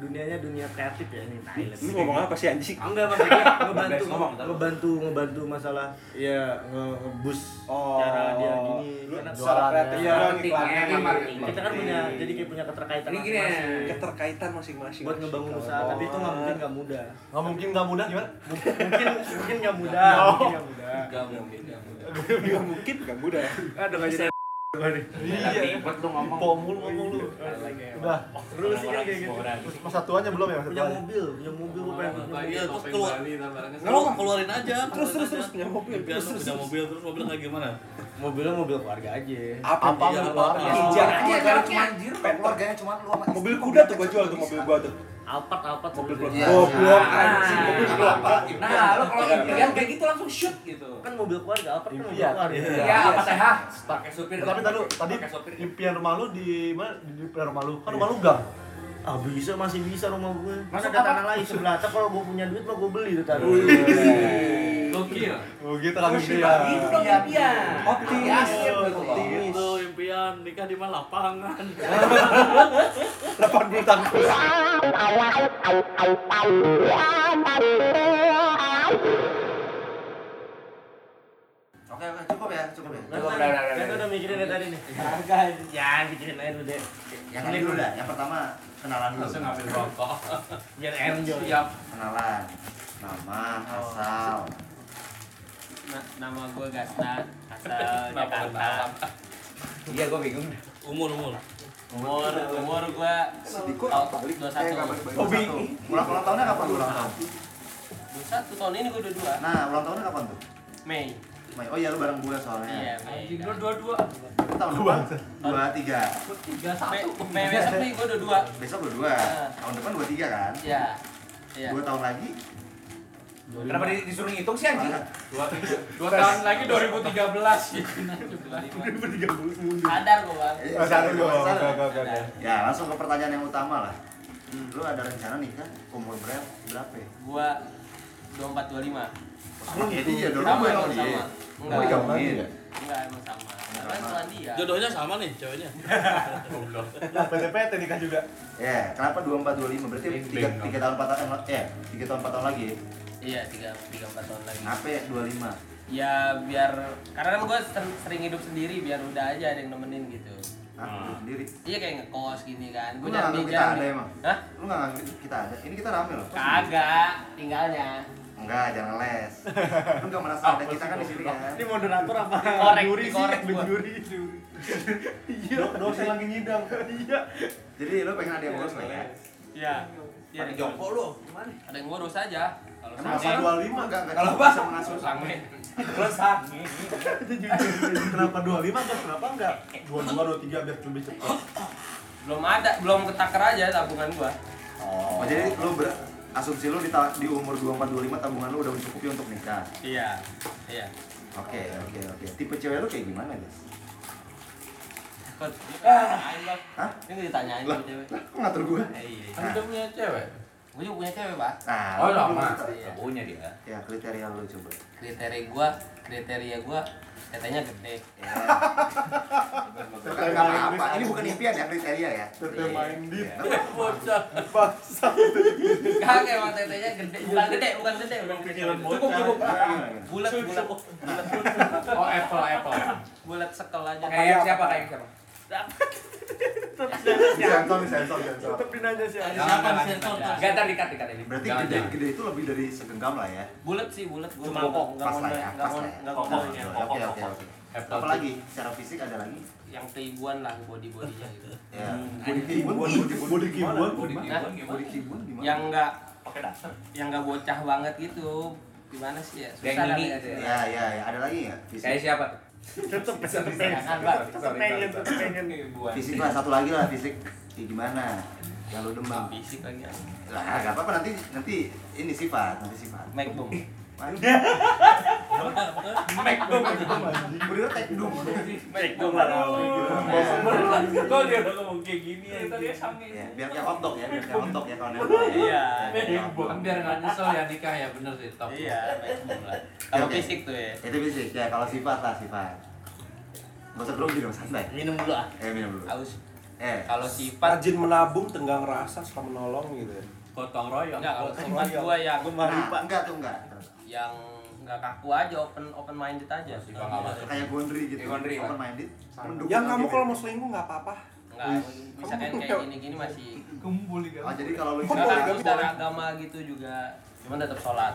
dunianya dunia kreatif ya ini Thailand
Lu ngomong apa sih anjing?
Ah, enggak maksudnya ngebantu
Ngomong, ntar.
ngebantu ngebantu masalah ya nge ngebus
Oh.
cara dia gini
Lu
Karena
secara kreatif, kan?
Iya,
orang
marketing,
iklan.
emang marketing.
kita kan punya jadi kayak punya
Ini
keterkaitan
gini. ya.
masing-masing
keterkaitan masing-masing.
buat ngebangun usaha tapi itu nggak mungkin nggak mudah
Nggak mungkin nggak mudah gimana?
Mungkin- mungkin mungkin nggak mudah mungkin nggak mudah
Enggak mungkin, enggak mungkin.
Gak mungkin, gak mudah.
aduh nggak jadi
Ribet lu ngomong.
Pomul ngomong lu. Udah.
terus sih kan kayak gitu
Mas satuannya belum ya mas
punya
satuannya?
mobil punya mobil gue pengen punya mobil
Iya, terus
Topeng
keluar.
Bali, tambah-tambah.
Lu keluarin aja.
Terus, terus, terus, punya
punya
mobil,
mobil.
terus, terus,
Punya mobil terus mobil kayak gimana?
mobilnya mobil keluarga aja
Apa?
Apa
Iya,
lu
apa?
keluar?
Iya.
Ijak.
Aja karena cuma anjir.
Pet keluarganya cuma lu sama istri.
Mobil kuda tuh gua jual tuh mobil gua tuh.
Alphard Alphard mobil
Mobil
Iya.
keluarga
Goblok
Nah.
anjing, mobil gua.
Nah, lu kalau impian kayak gitu langsung shoot gitu.
kan mobil keluarga Alphard kan mobil
Iya.
keluarga
Ya, apa teh? ah? Iya. Pakai supir.
Tapi tadi tadi
pakai supir.
impian rumah lu di mana? Di di depan rumah lu. Kan rumah lu gang.
ah bisa masih bisa rumah gue
Masuk
masa ada
apa?
tanah lain sebelah atas kalau gue punya duit mah gue beli tuh tanah
Gokil.
Oh gitu kan
Terus dibagi
gitu ya.
dong.
Iya. impian.
Optimis.
Optimis. Itu impian nikah di mana lapangan.
80 tahun.
Oke oke cukup ya cukup ya.
Kan udah udah mikirin dari tadi nih ya pikirin aja dulu deh
Yang ini dulu dah. Yang pertama kenalan dulu.
Langsung ngambil rokok.
biar enjoy
Siap.
Kenalan. Nama, asal.
Nama gue Gasna, asal Jakarta.
Iya, gue bingung.
Umur umur.
Umur umur gue dua
Eh, kapan?
satu.
Hobi. Ulang ulang tahunnya kapan tuh ulang tahun?
Dua satu tahun ini gue dua dua.
Nah, ulang tahunnya kapan tuh?
Mei.
Mei. Oh iya lu bareng gue soalnya.
Iya Mei.
Gue dua-dua.
Tahun depan dua tiga.
Gue tiga
Mei
satu.
Mei besok nih gue dua dua.
Besok dua dua. Tahun depan dua tiga kan?
Iya. Iya.
Dua tahun lagi.
Kenapa di- disuruh ngitung
Eh,
sih anjing?
Mana?
Dua tahun lagi 2013 gitu.
Sadar gue bang.
Eh,
Oh,
sadar,
Satu dong.
sadar.
Oke, oke, oke.
Ya langsung ke pertanyaan yang utama lah.
Hmm.
Lu ada rencana nikah umur berapa? Berapa? ya?
Gue dua empat dua lima.
Sama kayak dia dong. Iya.
Sama
Gue
emang sama.
sama
Enggak.
dia. Gue
Nah,
sama dia.
ya?
Enggak emang sama. Kan
Iya. sama.
sama dia.
Jodohnya sama nih ceweknya.
Nah, PT-PT nikah juga.
Ya, kenapa 2425? Berarti 3 3 tahun 4 tahun eh 3 tahun 4 tahun lagi. ya?
Iya tiga tiga empat tahun lagi.
Kenapa ya 25?
Ya biar karena kan gue sering hidup sendiri biar udah aja ada yang nemenin gitu.
Aku
Hmm.
sendiri.
Iya kayak ngekos gini kan. Gue
Lu nggak
jarang
nganggep kita
jarang-
ada emang?
Hah?
Lu nggak nganggep kita ada? Ini kita rame loh.
Kagak, tinggalnya.
Enggak, jangan les. Lu nggak merasa ada kita kan di sini kan?
ini moderator apa
Korek,
juri sih
korek gua.
juri iya dosen lagi nyidang iya
Jadi lu pengen ada yang ngurus nggak ya?
Iya. Iya.
Pakai jongkok lu.
Ada yang ngurus aja. Kalau
Kenapa
sange,
25 enggak enggak
Kalau
bisa mengasuh
Sange. Lu sange.
Kenapa 25 enggak kenapa enggak 22 23 biar lebih cepat.
belum ada, belum ketaker aja tabungan gua.
Oh, jadi lu ber- asumsi lu di, ta- di umur 24 25 tabungan lu udah mencukupi untuk nikah.
Iya. Iya.
Oke, oke, oke. Tipe cewek lu kayak gimana, guys?
cepet. Dia nggak ditanyain, Bang.
Hah?
Dia nggak ditanyain
Lah,
sama cewek.
lah, kok ngatur gua?
Kamu udah punya cewek? Gue juga punya cewek, Pak.
Nah,
Oh,
lu-
lama.
Iya.
Punya dia.
Ya, kriteria lu coba.
Kriteria gua, kriteria gua tetenya gede.
Ya.
Kriteria
Nggak apa-apa.
yang
Ini bukan impian ya, kriteria ya.
Tete minded.
Bocah.
Kagak emang tetenya gede, bukan gede, bukan gede, udah
Pikiran
gede.
bocah.
Bulat, bulat,
Oh, apple, apple.
bulat sekel aja.
Kayak siapa, kayak siapa?
Sensor nih, sensor, sensor.
Siapa
Jangan,
sih?
jangan,
Tonton.
Gak ntar dikat, dikat ini.
Berarti
Jangan,
gede,
jangan.
gede itu lebih dari segenggam lah ya.
Bulat sih, bulat. Gua
Cuma
nggak-
kok,
nggak
Pas
mau
lah ya,
nggak
pas
mau
lah ya.
nggak
Kokoh,
mau
jodoh.
kokoh,
Oke, oke, oke.
Apple.
Apa lagi? Secara fisik ada lagi?
yang playboyan lah body bodinya gitu.
Ya.
Body
kibun, body kibun,
Body kibun.
Body
Nah,
keyboard gimana?
body kibun gimana?
yang nggak
Pakai dasar.
yang nggak bocah banget gitu. Gimana sih ya?
Yang
Susah lah
ini.
lihat ya.
ya, ya, ya, ada lagi ya?
Kayak
Fisik.
siapa?
Tetep
Sorry, sorry, sorry,
pengen,
sorry.
tetep pengen nih gua.
Fisik lah, satu lagi lah fisik. Ya, gimana? Yang lu demam.
Fisik lagi.
Lah, enggak apa-apa nanti nanti ini sifat, nanti sifat.
Make boom.
Beri tag dulu.
Cek dong lah. Kok dia udah ngomong kayak gini ya?
Ya, biar kayak hotdog ya, biar kayak hotdog ya kalau nembak. Iya.
Kan biar nggak nyesel ya nikah ya, bener sih. Top.
Iya, make boom lah. Kalau
Oke.
fisik tuh ya.
Itu fisik ya, kalau sifat lah sifat. Gak usah grogi dong, santai.
Minum dulu ah.
Eh, minum dulu.
Aus.
Eh,
Kalau sifat
Rajin menabung, tenggang rasa, suka menolong gitu ya.
Gotong royong.
enggak kalau sifat gua yang
nah, enggak tuh enggak.
yang nggak kaku aja open open minded aja.
Sifat apa?
Kayak gondri gitu.
Kayak gondri, Pak.
open minded. Mendukung
Yang Ya, kamu
LGBT.
kalau mau selingkuh nggak apa-apa.
Enggak, misalkan kayak gini-gini masih
Oh, jadi kalau lu
Nggak harus dari agama gitu juga, cuman tetap sholat.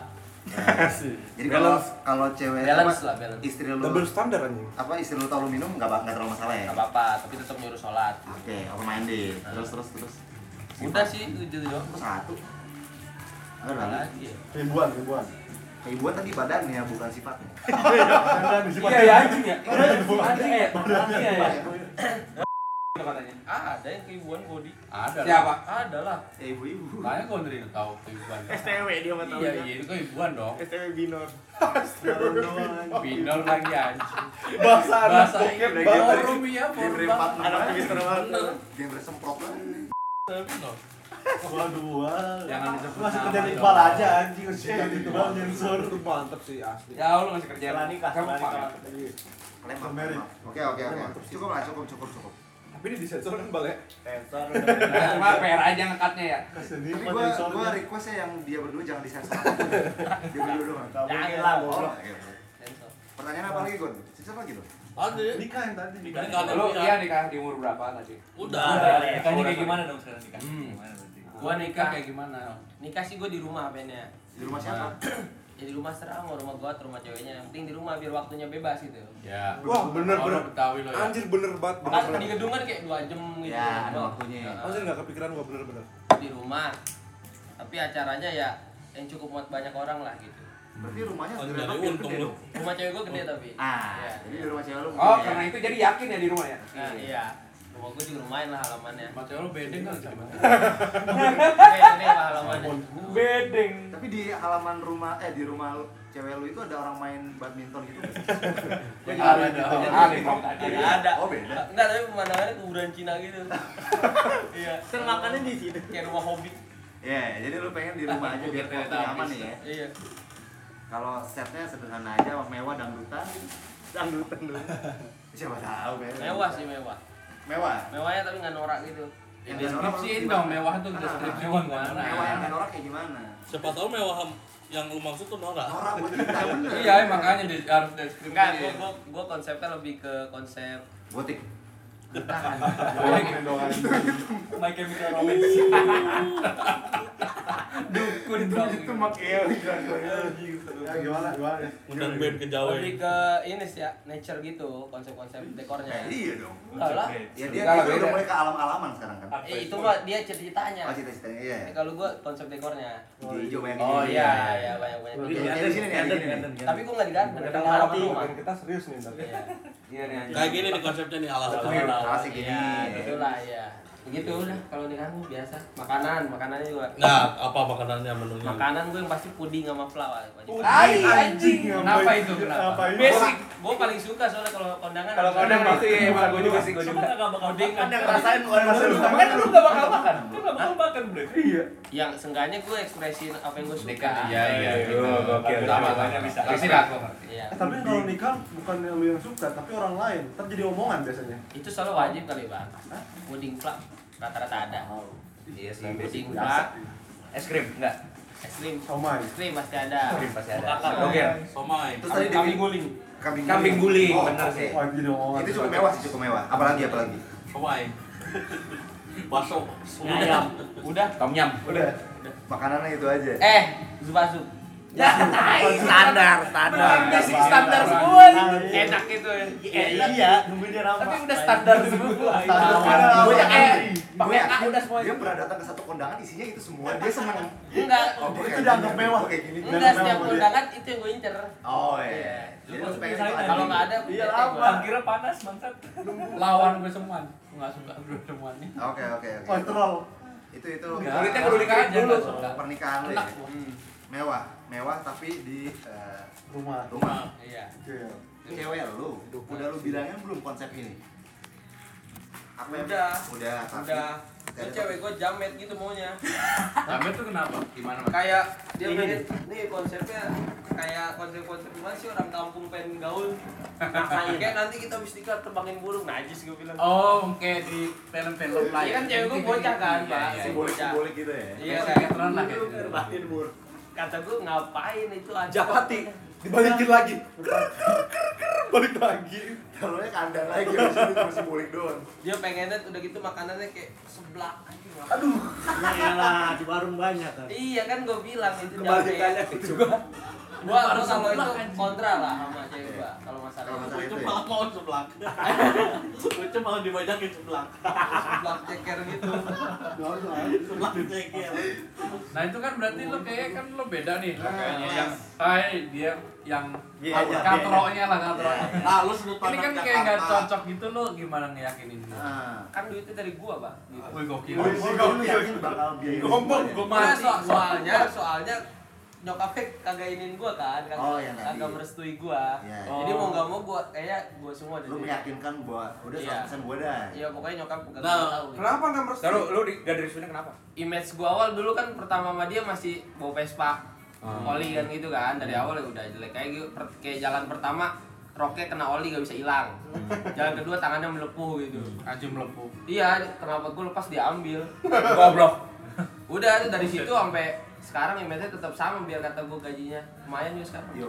Jadi kalau kalau cewek
Iya,
Balance
apa,
lah, balance.
istri lu
Double standar anjing.
apa istri lu tau lu minum enggak enggak terlalu masalah ya?
Gak apa-apa, tapi tetap nyuruh sholat.
Oke, open minded. Terus terus terus.
Udah sih itu itu doang.
Terus satu. Ada
Apa
lagi.
lagi ya?
Ribuan, ribuan.
Keibuan tadi badannya ya, bukan sifatnya.
Jangan disimpan.
Iya ya, anjing ya. Anjing ya.
Katanya, ah ada yang keibuan body.
Ada.
Siapa? Ada lah.
Eh, ibu-ibu.
Makanya gue ngeri tahu keibuan.
STW dia mah
Iya, iya, itu keibuan dong.
STW binor.
Binor lagi anjing.
Bahasa anak
Bahasa
bokep
Inggris.
banget.
Forum ya,
Dia
forum
beri
banget.
empat
Anak Mister Walter.
Dia beri semprot lah.
Binor.
Waduh, wah.
Jangan disebut
Masih
nama
kerja
dong.
Iqbal aja anjing kerjaan Iqbal nyensor.
Itu mantep sih asli.
Ya, lu masih kerja.
Setelah nikah,
Kamu
setelah
apa?
nikah.
Lempar,
Mary.
lempar. Oke, oke, oke. Cukup lah, cukup, cukup, cukup.
Tapi ini disensor kan bal ya?
Sensor.
Nah, Cuma PR aja ngekatnya ya.
Kesini
Tapi
kok
gua
sensornya.
gua requestnya yang dia berdua jangan disensor. apapun. dia berdua doang.
Jangan lah,
Oh,
goblok.
gitu.
Sensor.
Pertanyaan apa lagi, Gon? Sisa lagi loh.
Ada.
Nikah yang tadi.
Nikah.
Lu iya nikah di umur berapa tadi?
Udah.
Nikahnya kayak gimana
dong sekarang nikah?
Gimana Hmm. Gua nikah kayak gimana?
Nikah sih gue di rumah pengennya.
Di
Nah.
rumah siapa?
Ya di rumah serang, mau rumah gua, atau rumah ceweknya. Yang penting di rumah biar waktunya bebas gitu.
Ya.
Wah, bener, bener.
Orang Betawi
Iya.
lo ya.
Anjir bener banget.
Kan
bener-bener.
di gedung kan kayak 2 jam gitu.
Ya, ada
Bang.
waktunya.
Nah,
Anjir nggak kepikiran gua bener-bener.
Di rumah. Tapi acaranya ya yang cukup buat banyak orang lah gitu.
Berarti rumahnya
Oh,
ya.
sebenarnya
jadi
gede
untung lu.
dong.
Rumah cewek gue gede tapi.
Ah,
Iya.
jadi di rumah cewek lu.
Oh,
gede ya?
karena itu jadi yakin ya di rumah ya.
Nah, iya. Rumah gue juga lumayan lah halamannya.
Mata lo bedeng kan sama.
Kayak gede lah halamannya.
Tapi di halaman rumah eh di rumah lu- cewek lu itu ada orang main badminton gitu. nggak sih?
Ada dong. Ada dong.
Gak ada.
Oh, beda.
Enggak, tapi pemandangannya kuburan Cina gitu. iya.
Termakannya Kan di situ.
Kayak rumah hobi.
Ya, jadi lu pengen di rumah aja biar
Biar
waktunya aman nih ya.
Iya.
Kalau setnya sederhana aja, mewah dangdutan.
Dangdutan dulu.
Siapa tahu kan.
Mewah sih mewah.
Mewah.
Mewahnya tapi nggak norak gitu.
Yang
Deskripsiin dong mewah tuh
Ah,
deskripsiin
Mewah yang
mana.
nggak norak kayak gimana?
Siapa tahu mewah yang lu maksud tuh Nora.
Norak buat kita bener.
Iya,
ya,
makanya di- harus
Enggak, gua,
deskripsiin.
gua, gua konsepnya lebih ke konsep
Gotik.
Boleh gitu.
My Chemical Romance.
Dukun dong.
Ya gimana? Gimana?
Undang
Iya,
band ke Jawa.
Lebih ke ini sih ya, nature gitu, konsep-konsep
Eh,
dekornya.
iya dong.
Enggak lah.
Ya dia
Enggak lah,
dia udah
beda.
mulai ke alam-alaman sekarang kan.
Eh, itu mah dia ceritanya.
Oh, cita-citanya iya.
Eh, Kalau gua konsep dekornya.
Di hijau banyak
Oh
hijau.
iya, iya banyak-banyak.
Di di sini nih, di sini nih.
Tapi gua nggak di garden, di halaman rumah.
Makin kita serius nih ntar.
Iya.
Iya nih.
Iya,
Kayak gini nih konsepnya nih alas.
Alas kayak gini.
Iya, gitulah ya. begitu udah kalau di kamu biasa makanan makanannya juga
Nah, apa makanannya menunya?
makanan gue yang pasti puding sama Ah, flower
Ai, anjing.
anjing,
Kenapa
ngapain-
itu? Kenapa?
ngapain?
basic gue paling suka soalnya kalau kondangan
Kalau
harus
kadang
ada.
pasti
Iya,
ya, Pak. Gue juga sih, gue
Coba
juga.
nggak bakal
Puding
makan.
ya,
kan.
Rasain bukan rasain.
Kan lu gak bakal makan.
Lu nggak bakal makan, Bre.
yang seenggaknya gue ekspresiin apa yang gue suka
Nikah. Iya, iya.
Oke,
Sama, sama.
bisa.
Pasti lah, gue ngerti.
Iya.
Tapi kalau nikah bukan yang lu yang suka, tapi orang lain. Ntar jadi omongan biasanya.
itu selalu wajib kali bang puding flak rata-rata ada
Iya sih, basic.
puding flak
Es krim, enggak.
es krim
Somai.
es krim pasti ada
Krim pasti ada.
Kakak.
Oke.
Somai.
Terus tadi kambing guling. Kambing,
Kambing guling,
Oh,
bener sih.
Wah, jadi omongan.
Itu cukup mewah sih, cukup mewah. Apalagi apalagi.
Somai. Baso.
ayam udah
Tom Yum.
Udah.
Makanannya itu aja.
eh zuba zup
Ya, standar, standar. Basic standar semua.
enak itu
Iya, iya, nungguin dia ramah.
Tapi udah standar semua.
Tahu.
Gue yang eh,
Gue
pakai
yakin
udah semuanya.
dia pernah datang ke satu kondangan isinya itu semua. Dia seneng.
enggak
Oh, gua
Itu
kayak
dianggap
gini.
mewah.
Gua kayak gini.
enggak setiap
Memang dia.
undangan itu yang gue incer
Oh iya. Jadi lu pengen itu
kalau nggak ada
Iya,
bete
lama.
gua.
Kira panas, bangsat.
Lawan gue semuan. Gue nggak suka bro semuan nih.
Oke oke oke.
Wah, terlalu.
Itu itu.
Kulitnya kudu dikaji dulu.
Pernikahan lu ya.
Enak. gua.
Mewah, mewah tapi di eh,
Rumah.
rumah.
iya
Oke.
Cewek lu, udah lu bilangin belum konsep ini? Apa yang-
Udah.
Udah. tapi-
udah
Gak
itu
ada-
cewek gue jamet gitu maunya
Sampai tuh kenapa? Gimana? Mas?
kayak dia pengen nih konsepnya kayak konsep-konsep gimana sih orang kampung pengen gaul maksain kayak nanti kita habis nikah terbangin burung najis gue bilang
Oh, kayak di film-film lain.
Iya kan cewek gue bocah kan
Iya,
pak
iya.
si
Simbolik
bocah
simbolik gitu ya.
iya
Kayak
kayak
sinetron lah, kayak
burung
gitu.
Nah,
terbangin burung kata gue ngapain itu aja
Japati dibalikin lagi.
Balik lagi.
Taruhnya kandang lagi, habis itu cuma simbolik doang.
dia pengennya udah gitu makanannya kayak seblak anjing, ngapain?
Iya lah, di warung banyak kan.
iya kan gue bilang itu
Kebalikannya
jamet
itu gua.
gua gua
Harus seblak,
kalau itu
anjing.
kontra lah sama cewek gua kalau masalah
Kalau
Nah,
masalah
Itu
itu ya.
malah mau seblak. Itu malah dibajakin seblak.
seblak ceker gitu
Seblak ceker.
Nah, itu kan berarti lo kayak kan lo beda nih lo kayaknya yang hai dia yang
Iya, iya,
katroknya lah katroknya.
Nah, lu sudut
Ini kan
pandang
kayak nggak
Jakarta.
cocok gitu lo gimana ngeyakinin dia?
Ah.
kan duitnya dari gua pak gitu
Wih gokil.
Wih,
Gue gue yakin bakal biayain
Ngomong,
semuanya.
Gue
Nah,
mati.
so soalnya soalnya nyokapnya kagak inin gua kan, kagak,
Oh, yang tadi.
kagak merestui gua.
Iya.
Jadi
Oh.
mau nggak mau gua kayak gua semua
Lu
jadi.
meyakinkan bahwa udah
Iya.
100% gue dah.
Iya pokoknya nyokap gua
Nah,
kagak tahu.
Kenapa nggak merestui?
Taruh, lu di, gak dari sini kenapa?
Image gua awal dulu kan pertama sama dia masih bawa Vespa, oli kan gitu kan. Dari awal ya udah jelek kayak gitu. Per- Kayak jalan pertama roknya kena oli gak bisa hilang. Jalan kedua tangannya melepuh gitu.
Anjing melepuh.
Iya, kenapa gua lepas diambil.
Goblok.
Udah tuh dari situ sampai sekarang image-nya tetap sama biar kata gua gajinya lumayan juga sekarang.
Yo.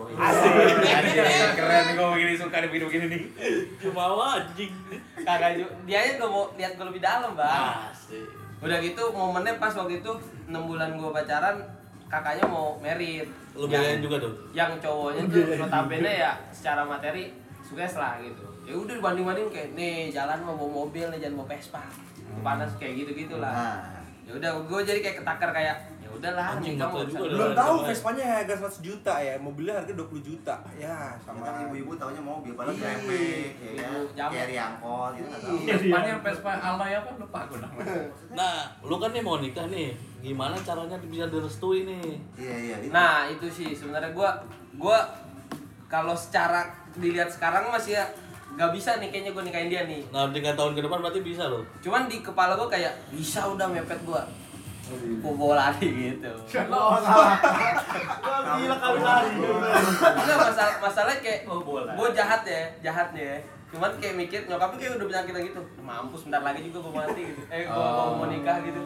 Anjir, keren gue begini suka di video gini nih.
Jumawa anjing.
Kagak juga. Dia aja gak mau lihat gue lebih dalam,
Ah.
Bang.
Asik.
Udah gitu momennya pas waktu itu 6 bulan gua pacaran, kakaknya mau merit.
Lu
yang,
belain juga tuh.
yang cowoknya tuh notabene ya secara materi sukses lah gitu. Ya udah dibanding-banding kayak nih jalan mau bawa mobil nih jangan bawa Vespa. Panas kayak gitu-gitu lah.
Nah,
Ya udah gua jadi kayak ketakar kayak ya udahlah
Anjing,
nikah mau
betul juga
urusan
lu.
Iya,
Belum tahu Vespanya harga 100 juta ya, mobilnya harga 20 juta. Ya, sama
sama kan ibu-ibu taunya mobil padahal
Iya.
grepek, ya kan?
Ibu Iya. jamet.
Carry angkot gitu nggak tahu.
Pespanya Vespa alloy apa lupa gue namanya.
Nah, lu kan nih mau nikah nih. Gimana caranya bisa direstui nih?
Iya iya. itu.
Nah itu sih sebenarnya gua gua kalau secara dilihat sekarang masih ya nggak bisa nih kayaknya gue nikahin dia nih.
Nah, tiga tahun ke depan berarti bisa loh.
Cuman di kepala gua kayak bisa udah mepet gua mau bawa lari gitu.
Wah, gila kami lari.
Enggak masalah masalahnya kayak
Oh,
gua jahat ya jahat ya. Cuman kayak mikir nyokapnya kayak udah penyakitan gitu. Mampus bentar lagi juga gua mati gitu. Eh gua gua mau nikah gitu.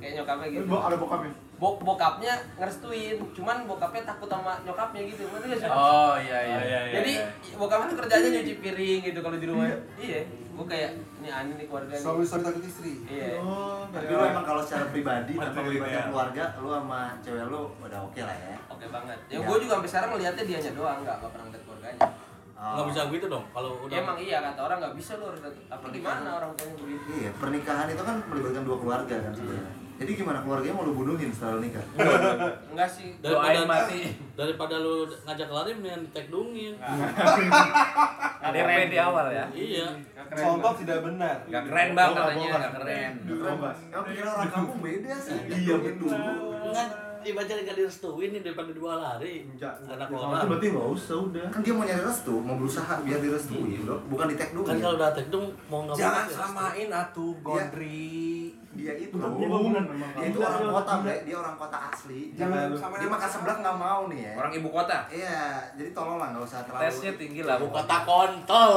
Kayak nyokapnya gitu.
Bo- Ada bokapnya.
Bok bokapnya ngerestuin, cuman bokapnya takut sama nyokapnya gitu. Ngerti nggak sih?
Oh iya iya.
Jadi bokapnya tuh kerjanya nyuci piring gitu kalau di rumah. Iya. Gua kayak ini aneh nih keluarga nih.
istri takut istri.
Iya.
Oh,
Tapi lu emang kalau secara pribadi tanpa
Materi,
melibatkan
ya.
keluarga, lu sama cewek lu udah oke lah ya.
Oke banget. Ya,
Iya.
Ya.
gua juga sampai sekarang ngeliatnya dianya doang, nggak nggak pernah ngeliat keluarganya.
Oh.
Nggak bisa begitu dong kalau udah
Ya, emang iya kata orang nggak bisa lu harus apa gimana orang tuanya begitu.
Iya, pernikahan itu kan melibatkan dua keluarga kan sebenarnya. Jadi gimana keluarganya mau lu bunuhin setelah lu nikah?
Enggak sih.
Doain
daripada
mati.
daripada lu ngajak lari mendingan tag dungin
ADP di awal ya.
iya
Contoh tidak benar.
Gak keren bang
Bohong,
katanya,
bohong.
gak keren.
Keren, Mas. Emang pikiran orang kampung beda sih. Iya betul.
enggak dibaca gak Kan, direstuin nih daripada dua lari anak orang
berarti nggak usah udah
Kan dia mau nyari restu, mau berusaha biar direstuin, Bro. Bukan di tag dulu. ya.
kan kalau udah tag dung mau nggak mau ya?
Jangan
direstuin.
samain atuh Gondri.
Dia itu.
Dia bangunan memang.
Dia itu orang kota, Bre. Dia orang kota asli.
Jangan
Jangan
samain
Dia makan seblak nggak mau nih ya.
Orang ibu kota.
Iya, jadi tolong lah nggak usah terlalu.
Tesnya tinggi lah.
Buku kata kontol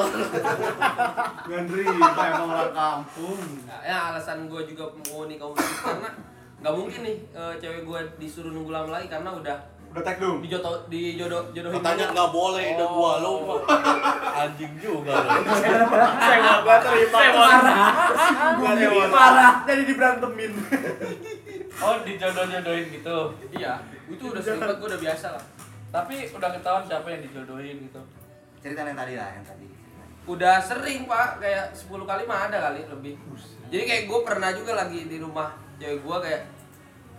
Gondri, kita emang orang kampung.
Nah, ya alasan gue juga mau nikah umur dikit karena nggak mungkin nih eh, cewek gue disuruh nunggu lama lagi karena udah
Udah tag dong.
dijodoh dijodoh
Oh,
jodohin.
katanya nggak boleh udah gua lo anjing juga lo
Oh, dijodoh-jodohin gitu.
Iya, itu udah sering banget gue udah biasa lah.
Tapi udah ketahuan siapa yang dijodohin gitu.
Cerita yang tadi lah, yang tadi.
Udah sering pak, kayak 10 kali mah ada kali lebih. Jadi kayak gue pernah juga lagi di rumah cewek gue kayak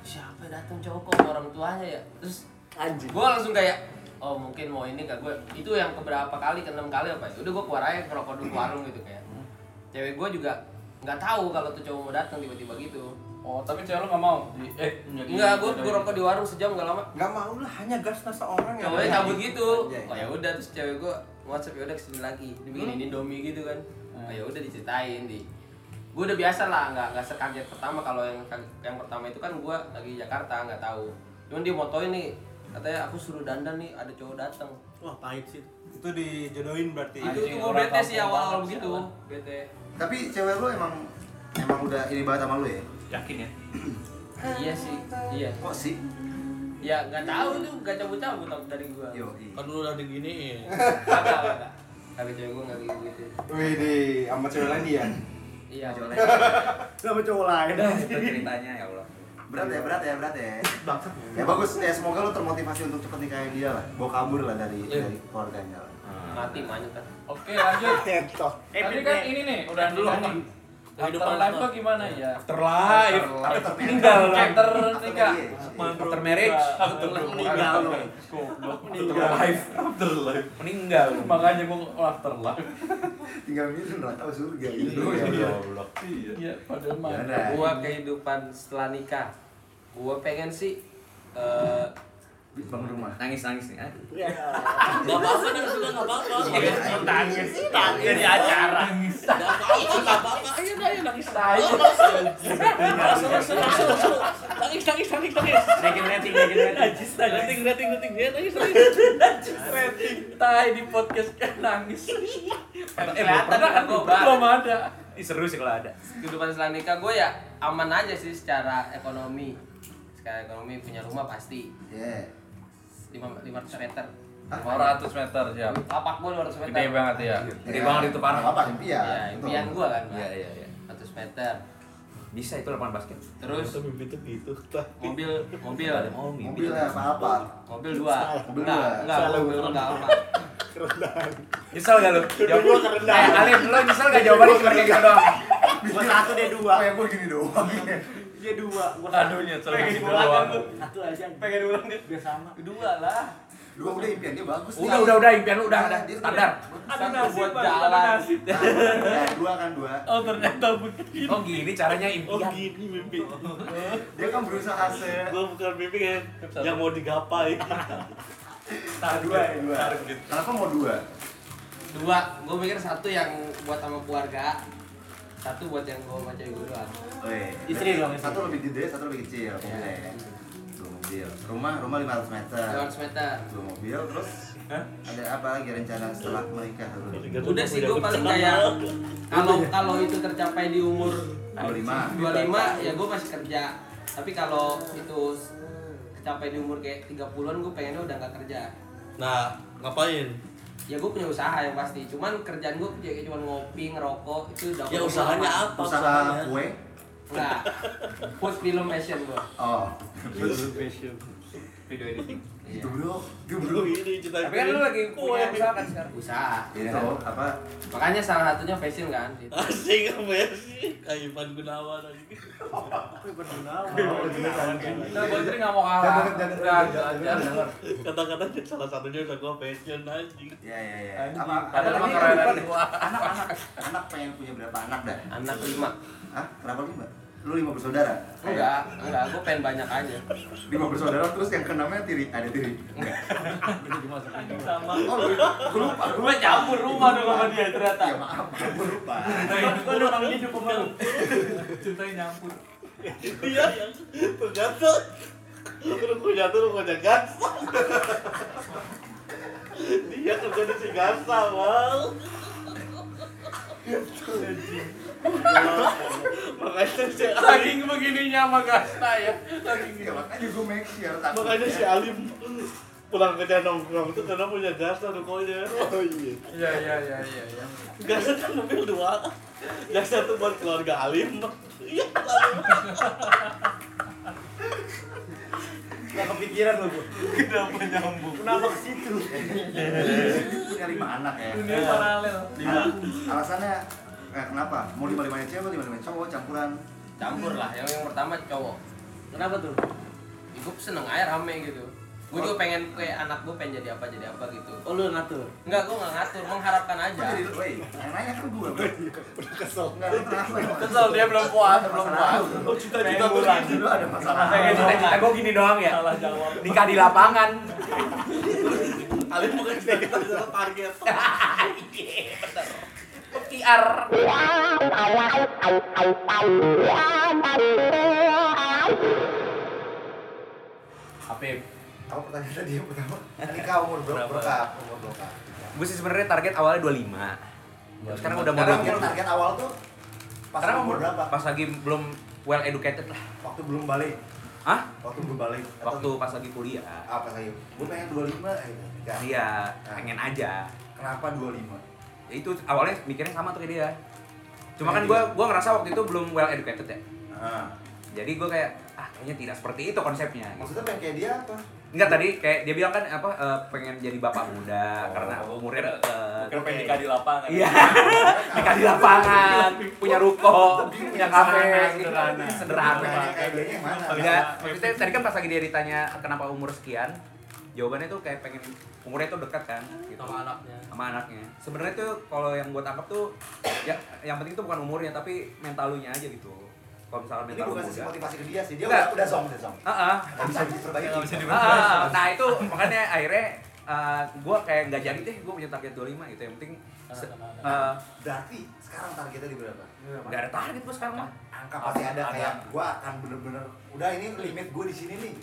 siapa yang datang cowok kok sama orang tuanya ya. Terus
anjing
gue langsung kayak oh mungkin mau ini kak gue itu yang keberapa kali keenam kali apa ya udah gue keluar aja ngerokok dulu ke warung gitu kayak cewek gue juga nggak tahu kalau tuh cowok mau datang tiba-tiba gitu
Oh, tapi cewek lu nggak mau. Di, eh,
enggak gue gue rokok di warung sejam gak lama
Gak mau lah, hanya gas nasa orang
Iya,
yang
cowoknya cabut gitu
Anjay.
oh ya udah terus cewek gue whatsapp ya udah kesini lagi dibikinin indomie gitu kan oh ya udah diceritain di gue udah biasa lah nggak nggak sekaget pertama kalau yang yang pertama itu kan gue lagi di Jakarta nggak tahu cuman dia motoin nih katanya aku suruh dandan nih ada cowok datang
wah pahit sih
Itu dijodohin berarti.
itu
Anjing,
itu gue
orang
bete sih
kampung
awal-awal
banget
begitu
sialan.
bete
Tapi cewek lu emang emang udah ini banget sama lu ya?
Yakin ya?
iya sih iya
Kok sih?
ya nggak tahu itu nggak cabut cabut dari gue
Yo,
kan lu udah diginiin
kagak kagak tapi cewek gue nggak kayak gitu
Wih deh, sama cewek lain dia.
iya
Cewek.
sama cowok lain
Itu ceritanya ya Allah.
Berat ya, berat ya, berat ya. Ya bagus ya, semoga lu termotivasi untuk cepet nikahin dia lah. Bawa kabur lah dari
Iya.
dari keluarganya lah.
mati manyut kan
Oke, lanjut.
Tetot.
Tapi kan ini nih, udah dulu nih.
Kehidupan
Afterlife
apa?
tuh gimana ya?
Terlaif.
After
Meninggal
marriage.
After
After
nikah.
marriage.
After marriage.
After
meninggal lu
Live.
Meninggal.
Makanya gua oh, afterlife.
Tinggal minum lah, tahu surga gitu.
Iya, padahal mah.
Ya udah.
gua kehidupan setelah nikah gua pengen sih eh,
Bangun rumah.
Nangis nangis nih. ah.
nggak apa-apa nih sudah nggak apa-apa
Iya, Nangis. Nangis di acara.
nggak apa-apa nggak apa-apa
Oh,
ayo dah ayo nangis aja langsung langsung langsung langsung nangis nangis naikin nangis
Naikin rating, naikin rating.
rating rating rating
Ya,
dia nangis nangis
Tai di podcast kan nangis.
eh, kelihatan kan gua
Belum
bah.
ada.
Ih, seru sih kalau ada.
kehidupan setelah nikah gua ya aman aja sih secara ekonomi secara ekonomi punya rumah pasti
Ya.
lima lima ratus meter
Ah,
400 meter siap.
lapak gua lima ratus meter
Gede banget ya. Gede banget itu
Nggak
parah.
Apa impian?
ya
Iya, betul.
impian gua kan
Iya iya iya.
100 meter
Bisa itu lapangan basket.
terus
mimpi tuh gitu
mobil mobil
Ada mau mimpi.
Mobil lah, apa apa?
mobil dua
Mobil
enggak
dua.
enggak
Salah.
mobil enggak apa
Nyesel gak lu? Jawab lu Eh, Alif, lu nyesel gak jawabannya seperti itu doang?
gua satu dia dua
Kayak gua gini doang.
dia dua gua
Aduh, nyesel gitu doang.
satu aja pengen ulang deh biar sama
dua lah
Dua udah impian dia bagus. nih.
Udah udah udah impian lu udah udah
Dia tuh
standar.
Ada
Satu buat
Bang.
jalan.
Ada nasib.
Nah, dua kan dua.
Oh, ternyata begini.
Oh gini caranya
Iya.
impian.
gini mimpi
Dia kan berusaha se
gua bukan mimpi kan yang mau digapai
dua ya dua. Kenapa mau dua?
dua gue mikir satu yang buat sama keluarga satu buat yang gue sama cewek gue doang
Nah.
Oh, iya.
Istri dong, istri.
Satu lebih gede, satu lebih kecil. Mobil ya. Dua mobil. Rumah rumah 500 meter.
200 meter
Dua mobil terus ada apa lagi rencana setelah menikah?
udah sih gue paling kayak kalau kalau itu tercapai di umur
25.
25 ya gue masih kerja tapi kalau itu tercapai di umur kayak 30-an gue pengennya udah gak kerja
nah ngapain
ya gue punya usaha yang pasti cuman kerjaan gue kayak cuma ngopi ngerokok itu udah
ya usahanya
Iya.
apa
Usaha
usahanya?
kue.
enggak food film fashion gue
Oh.
video editing.
Gebruk,
Lu
gebruk.
Iya.
ini cita
Tapi kan lu lagi punya usaha kan sekarang.
usaha
Iya, kan? apa?
makanya salah satunya fashion kan gitu.
Asik apa ya sih? Kayak Ivan Gunawan aja.
Kita Gojri nggak mau kalah.
Jangan, jangan, jangan,
Udah, udah,
jangan,
udah.
Kata-kata salah satunya udah gua fashion anjing.
Iya, iya, iya.
Anjing.
Apa?
Ada
apa-
nama
apa-
keren
apa- Anak-anak, anak pengen punya berapa anak dah?
anak lima
Hah? Kenapa lima? Lu lima bersaudara?
enggak enggak gue pengen banyak aja
Lima bersaudara terus yang keenamnya tiri, ada tiri.
Sama.
Oh, lu gua lupa.
Gue campur rumah dong sama dia ternyata.
Ya maaf, gua lupa.
Gue orang hidup sama lu. Cintanya nyampur.
Iya yang ternyata. Lu gue jatuh lu gue gas. Dia kerja di Cigasa, Bang. Makanya si
Saking begininya sama Gasta ya. Saking
Ya
gitu.
makanya gua make sure takut.
Makanya si Alim pulang kerja nongkrong tuh karena punya jasa rukonya. Oh iya.
Iya, iya, iya, iya. iya.
Jasa tuh ngambil kan dua. Jasa tuh buat keluarga Alim. Iya.
Gak kepikiran lu, Bu. Kenapa nyambung? Kenapa ke situ?
Punya lima anak ya.
Dunia paralel.
Lima. Alasannya eh, kenapa? Mau lima limanya cewek, lima limanya cowok, campuran.
campur lah yang yang pertama cowok
Kenapa tuh?
ya, gue seneng aja rame gitu gue juga pengen kayak anak gue pengen jadi apa jadi apa gitu
Oh, lu ngatur.
enggak gue nggak ngatur mengharapkan aja
Kok jadi lu, wey? Yang nanya kan gua. Bro.
kesel
Enggak, lu kenapa? ya?
Kesel dia belum puas, belum puas.
Oh, cita-cita tuh gitu ada masalah.
Kayak cita-cita gue gini doang ya. Nikah di lapangan.
Alim bukan kita adalah target.
Eh,
PR. Apip.
Kamu pertanyaan tadi yang pertama, nikah umur berapa? Berapa? Umur berapa?
Gue sih sebenarnya target awalnya 25. Tapi Sekarang udah mau
Sekarang
20.
target awal tuh pas
Sekarang
umur berapa?
Pas lagi belum well educated lah.
Waktu belum balik.
Hah?
Waktu belum balik. Atau
Waktu pas lagi kuliah.
apa saya? Gue pengen 25 eh nikah.
Iya, pengen aja.
Kenapa 25?
Ya itu awalnya mikirnya sama tuh kayak dia.
Iya,
Cuma kan gue gua ngerasa waktu itu belum well educated ya.
Nah,
Jadi gue kayak ah kayaknya tidak seperti itu konsepnya.
maksudnya pengen kayak dia apa?
Enggak tadi kayak dia bilang kan apa eh, pengen jadi bapak
Oh.
muda karena umurnya eh, deket.
Oke.
pengen nikah di lapangan.
Iya. Nikah di lapangan, punya ruko, punya kafe, gitu.
Sederhana,
sederhana.
Pengen kayak dia yang mana?
Enggak, maksudnya tadi kan pas lagi dia ditanya kenapa umur sekian, jawabannya tuh kayak pengen umurnya tuh dekat kan gitu
Sama anaknya.
sama anaknya. Sebenarnya tuh kalau yang buat tangkap tuh ya yang penting tuh bukan umurnya tapi mentalunya aja gitu. Kalau misalnya
Ini
mental lu
bukan sisi
muda.
motivasi ke dia sih, dia
Enggak.
udah udah song, udah song.
Ah, ah.
Gak bisa diperbaiki. Gak bisa
Ah, nah itu makanya akhirnya gue kayak nggak jadi deh gue punya target 25 gitu yang penting se- eh,
Berarti sekarang targetnya di berapa?
nggak ada target gue sekarang mah
Angka pasti ada kayak gue akan bener-bener udah ini limit gue di sini nih.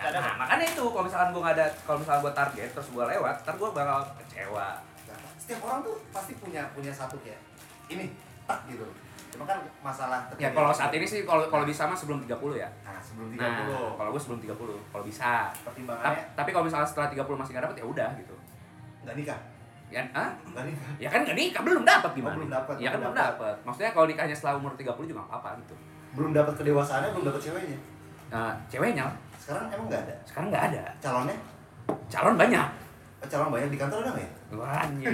ya nah, makanya itu kalau misalkan gue nggak ada kalau misalkan gue target terus gue lewat ntar gue bakal kecewa
Nah, Setiap orang tuh pasti punya punya satu kayak ini tak gitu. Cuma kan masalah
ya kalau saat ini sih kalau kalau bisa mah sebelum 30 ya
nah sebelum 30
nah kalau gue sebelum 30 kalau bisa
pertimbangannya
Ta- tapi kalau misalkan setelah 30 masih nggak dapet ya udah gitu
nggak nikah,
ya ah
nggak nikah.
ya kan nggak nikah belum dapat gimana
Oh, belum dapet,
ya kan
belum
belum dapat maksudnya kalau nikahnya setelah umur 30 juga nggak apa-apa gitu
Belum dapat kedewasaannya, belum dapat ceweknya.
nah, ceweknya
Sekarang emang nggak ada.
sekarang nggak ada
Calonnya?
calon banyak
Eh, Calon banyak di kantor ada nggak ya?
Wah, anjing,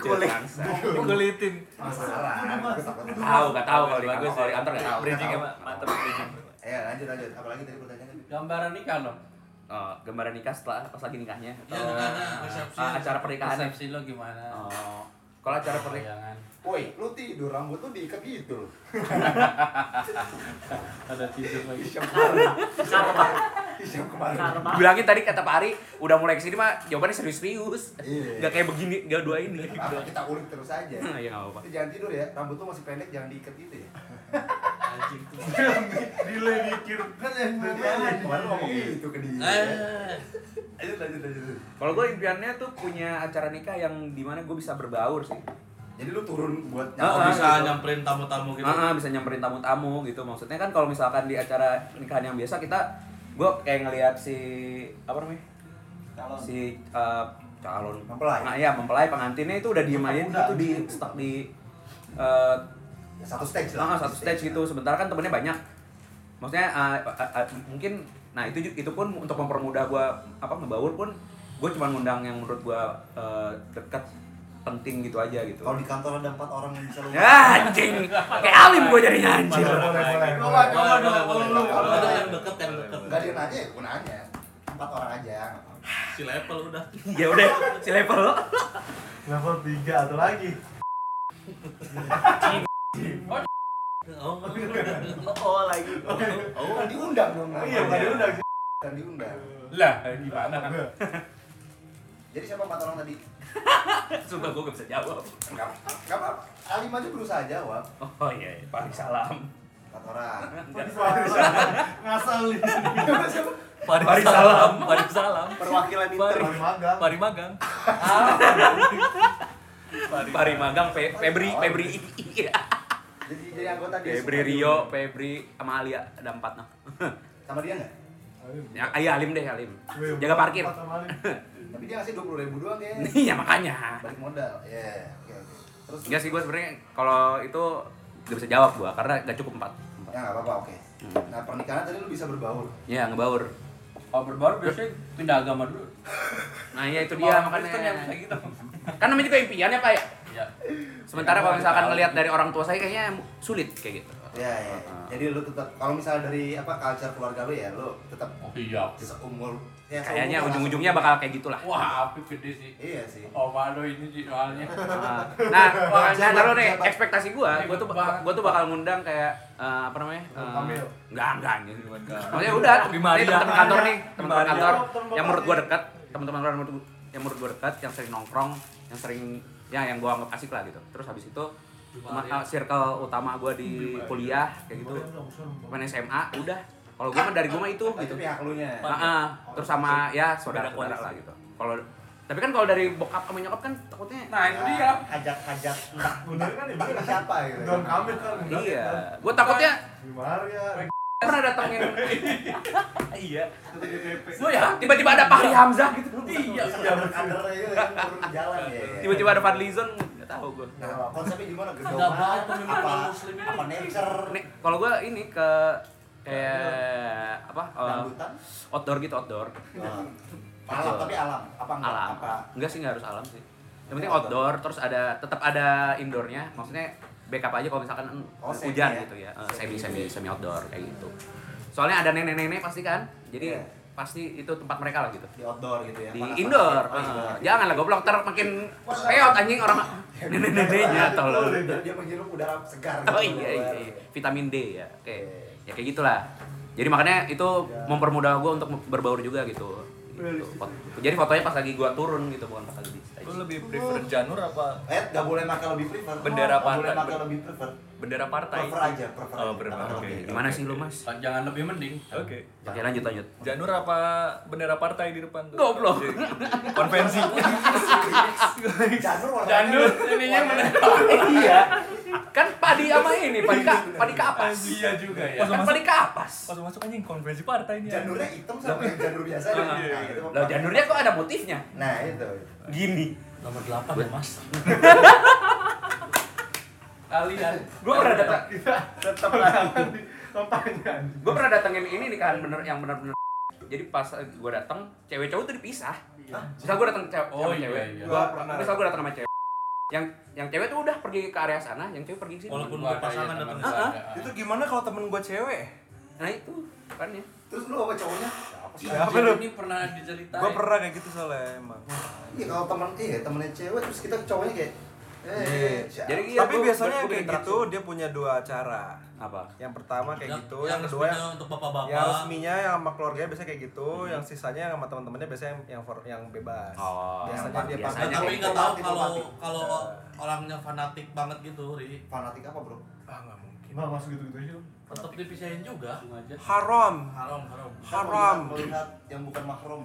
kulit bangsa.
Kulitin.
Masalah.
Gak tahu, gak tahu kalau di
Bagus,
kantor, kalau di kantor gak tahu.
Bridging ya,
Bridging mantap bridging.
Eh lanjut lanjut. Apalagi tadi pertanyaannya?
Gambaran nikah dong.
Oh, gambaran nikah setelah pas lagi nikahnya atau
Ya, nikahnya, resepsi.
ah, acara pernikahannya.
Persepsi lo gimana?
Oh, kalau acara pernikahan
Bayangan.
Woi, lu tidur rambut lu diikat gitu loh.
Ada tidur lagi.
Isyam kemarin. Isyam kemarin. Isyam kemarin.
bilangin tadi kata Pak Ari udah mulai kesini mah jawabannya serius-serius
Iya.
nggak kayak begini gak dua ini
Apa kita ulik terus aja.
ya nggak apa-apa
Tapi jangan tidur ya, rambut lu masih pendek jangan diikat gitu ya.
Anjing tuh.
Delay mikir kan yang
Kemarin lu ngomong gitu ke dia.
Eh.
Lanjut lanjut lanjut. lanjut.
kalau gue impiannya tuh punya acara nikah yang dimana gue bisa berbaur sih
Jadi lu turun buat gitu.
Ah,
nyampe
ah,
bisa.
Bisa nyamperin tamu-tamu gitu.
Ah, ah, bisa nyamperin tamu-tamu gitu maksudnya kan kalau misalkan di acara nikahan yang biasa kita gue kayak ngelihat si apa namanya si eh, calon
Mempelai.
nah, iya mempelai pengantinnya itu udah diem aja
Udah.
gitu di stuck di eh,
Satu stage
ah,
lah. Ah,
satu stage gitu sebentar kan temennya banyak maksudnya eh, eh, eh, mungkin nah itu ju- itu pun untuk mempermudah gua apa ngebaur pun gue cuma ngundang yang menurut gua eh, dekat penting gitu aja gitu
Kalau di kantor ada empat orang yang bisa lu
Ya, anjing kayak alim gue jadinya anjing
Coba, coba dong.
Kalau ada yang deket yang deket
Enggak dia nanya, gue nanya. Empat orang aja. nggak apa-apa.
si level udah.
ya udah si level lo
Level 3 atau lagi.
Oh,
oh lagi
Oh, kan diundang dong.
Iya, bukan diundang sih.
Kan diundang.
Lah, gimana?
Jadi siapa empat orang tadi?
sumpah gue gak bisa jawab
Enggak enggak apa-apa. Alim aja berusaha jawab.
oh iya iya. Pak salam
Empat orang.
Ngasal nih.
Pari salam, pari salam,
Perwakilan inter.
Paling magang.
pari magang.
Ah. pari magang, Pe- Febri, Febri, iya.
Jadi jadi anggota dia.
Febri Rio, Febri, sama Alia ada empat nah.
Sama dia enggak?
Ya, ayo Alim deh Alim, jaga parkir.
Tapi dia ngasih 20.000 ribu doang ya.
Iya makanya.
Balik modal. Iya. Oke, oke. Terus
Enggak sih gue sebenarnya kalau itu gak bisa jawab gue karena gak cukup empat.
Ya enggak apa-apa, oke. Nah, pernikahan tadi lu bisa berbaur.
Ya ngebaur.
Kalau berbaru biasanya pindah agama dulu.
Nah ya itu
Orang
dia
Kristen yang
makanya.
kayak gitu.
Kan namanya juga impian ya Pak ya.
Iya.
Sementara
Ya,
kalau
gua
misalkan
tahu. Iya.
ngelihat dari orang tua saya kayaknya sulit kayak gitu.
Ya, ya. Jadi lu tetap kalau misalnya dari apa culture keluarga lu ya, lu tetap
Oh iya.
seumur ya, seumur
Kayaknya
lah.
ujung-ujungnya bakal kayak gitulah.
Wah, api gede sih.
Iya sih.
Oma lo ini sih soalnya.
Nah, nah, nah
Jabat,
taruh nih
jabat.
ekspektasi gua, gua tuh
Jabat.
gua tuh bakal ngundang kayak eh, apa namanya? eh,
Kamil.
enggak, enggak anjing. Maksudnya udah, ini teman kantor nih, teman
Maria.
kantor
Temen-temen
yang menurut gua
Maria.
dekat, teman-teman orang menurut- yang menurut gua dekat, yang sering nongkrong, yang sering ya yang gua anggap asik lah gitu. Terus habis itu teman- eh, circle utama gua di kuliah kayak gitu, teman SMA udah. Kalau gua mah dari gua mah itu
Nah,
gitu.
Itu pihak lu nya.
Nah, ah, terus sama ya saudara-saudara lah gitu. Kalau tapi kan kalau dari bokap sama nyokap kan takutnya
Nah, itu dia.
Ajak-ajak
Bener kan
Bang siapa gitu.
Don Kamil kan.
Iya, gue takutnya
Gimana ya?
pernah datengin iya
Lo ya?
tiba-tiba ada Fahri Hamzah gitu
Iya.
Iya.
Sudah berkader aja kan turun ke jalan ya.
tiba-tiba ada Fadlizon nggak tahu gue
Nah, konsepnya gimana?
Enggak banget
Gedongan
pemimpin
apa
orang muslim ini.
apa nature
nih kalau gue ini ke kayak apa eh,
rambutan?
outdoor gitu outdoor
Nah, Alam tapi alam apa enggak?
alam
Apa?
enggak sih nggak harus alam sih yang penting outdoor terus ada tetap ada indoornya maksudnya backup aja kalau misalkan
Oh, semi
hujan
ya?
gitu ya Eh, semi semi semi outdoor kayak gitu soalnya ada nenek-nenek pasti kan jadi
Iya.
pasti itu tempat mereka lah gitu
Di outdoor gitu ya.
di
panas-panas.
indoor.
Oh, indoor.
Ah, jangan lah goblok ntar makin peot anjing orang nenek-neneknya tolol.
Dia dia menghirup udara segar gitu
Oh iya, iya, iya. vitamin D ya. Oke. Ya kayak gitulah. Jadi makanya itu mempermudah gua untuk berbaur juga gitu. Gitu. Fot- Jadi fotonya pas lagi gua turun gitu bukan pas lagi di stage.
Lu lebih prefer janur apa
Eh, nggak boleh makan lebih prefer. Oh,
Bendera
Nggak boleh
pantai.
makan lebih prefer.
bendera partai?
Prefer aja, prefer.
Oh,
aja.
prefer,
Makan
oke.
lebih.
Gimana sih lu, Mas?
Jangan lebih mending.
Oke.
Oke, lanjut lanjut.
Janur apa bendera partai di depan tuh?
Goblok.
Konvensi.
Janur warnanya.
Janur ininya mending.
iya. Kan padi sama ini, padi ka, padi kapas.
Iya juga ya.
Pas lu
Kan
masuk,
padi kapas.
pas lu masuk anjing konvensi partai ini.
Janurnya hitam sama yang janur biasa. ya? Nah, itu mau
Lah
pakai.
janurnya kok ada motifnya?
Nah, itu.
Gini.
Nomor 8 ya, Mas.
Kalian.
Gua pernah datang
Tetap larangan di kampanye.
gue pernah datengin ini nikahan bener yang bener-bener jadi pas gue dateng cewek cowok tuh dipisah misal gue dateng cewek
Oh
sama
iya
cewek
iya.
Gua pernah.
misal gue dateng sama cewek yang yang cewek tuh udah pergi ke area sana yang cewek pergi ke sini
Walaupun
Gua ada
berpasangan
ya,
datang
teman
sana.
saya.
Itu gimana kalau temen gua cewek?
nah itu kan ya
Terus lu apa cowoknya? Apa sih?
Siapa
Jadi
lu?
Ini pernah diceritain.
Gua Iya, pernah kayak gitu soalnya emang.
Iya, kalau temen iya, temennya cewek terus kita ke cowoknya kayak Eh,
jadi iya,
Tapi
gua-
biasanya
gua- gua
kayak
berinteraksi.
gitu dia punya dua acara.
apa
Yang pertama kayak gitu, yang kedua
resminya
yang
untuk bapak-bapak.
yang resminya yang sama keluarganya biasanya kayak gitu, yang sisanya yang sama teman-temannya biasanya yang yang, for- yang bebas.
oh
Biasanya dia
biasanya
pakai-
tapi
Yang
nggak tahu
diplomatik,
kalau
diplomatik.
kalau orangnya fanatik banget gitu, Ri.
fanatik apa, Bro?
Ah, nggak mungkin.
Enggak masuk gitu-gitu aja.
Tetap dipisahin juga.
Haram,
Haram, haram.
haram.
Melihat- Melihat yang bukan mahram.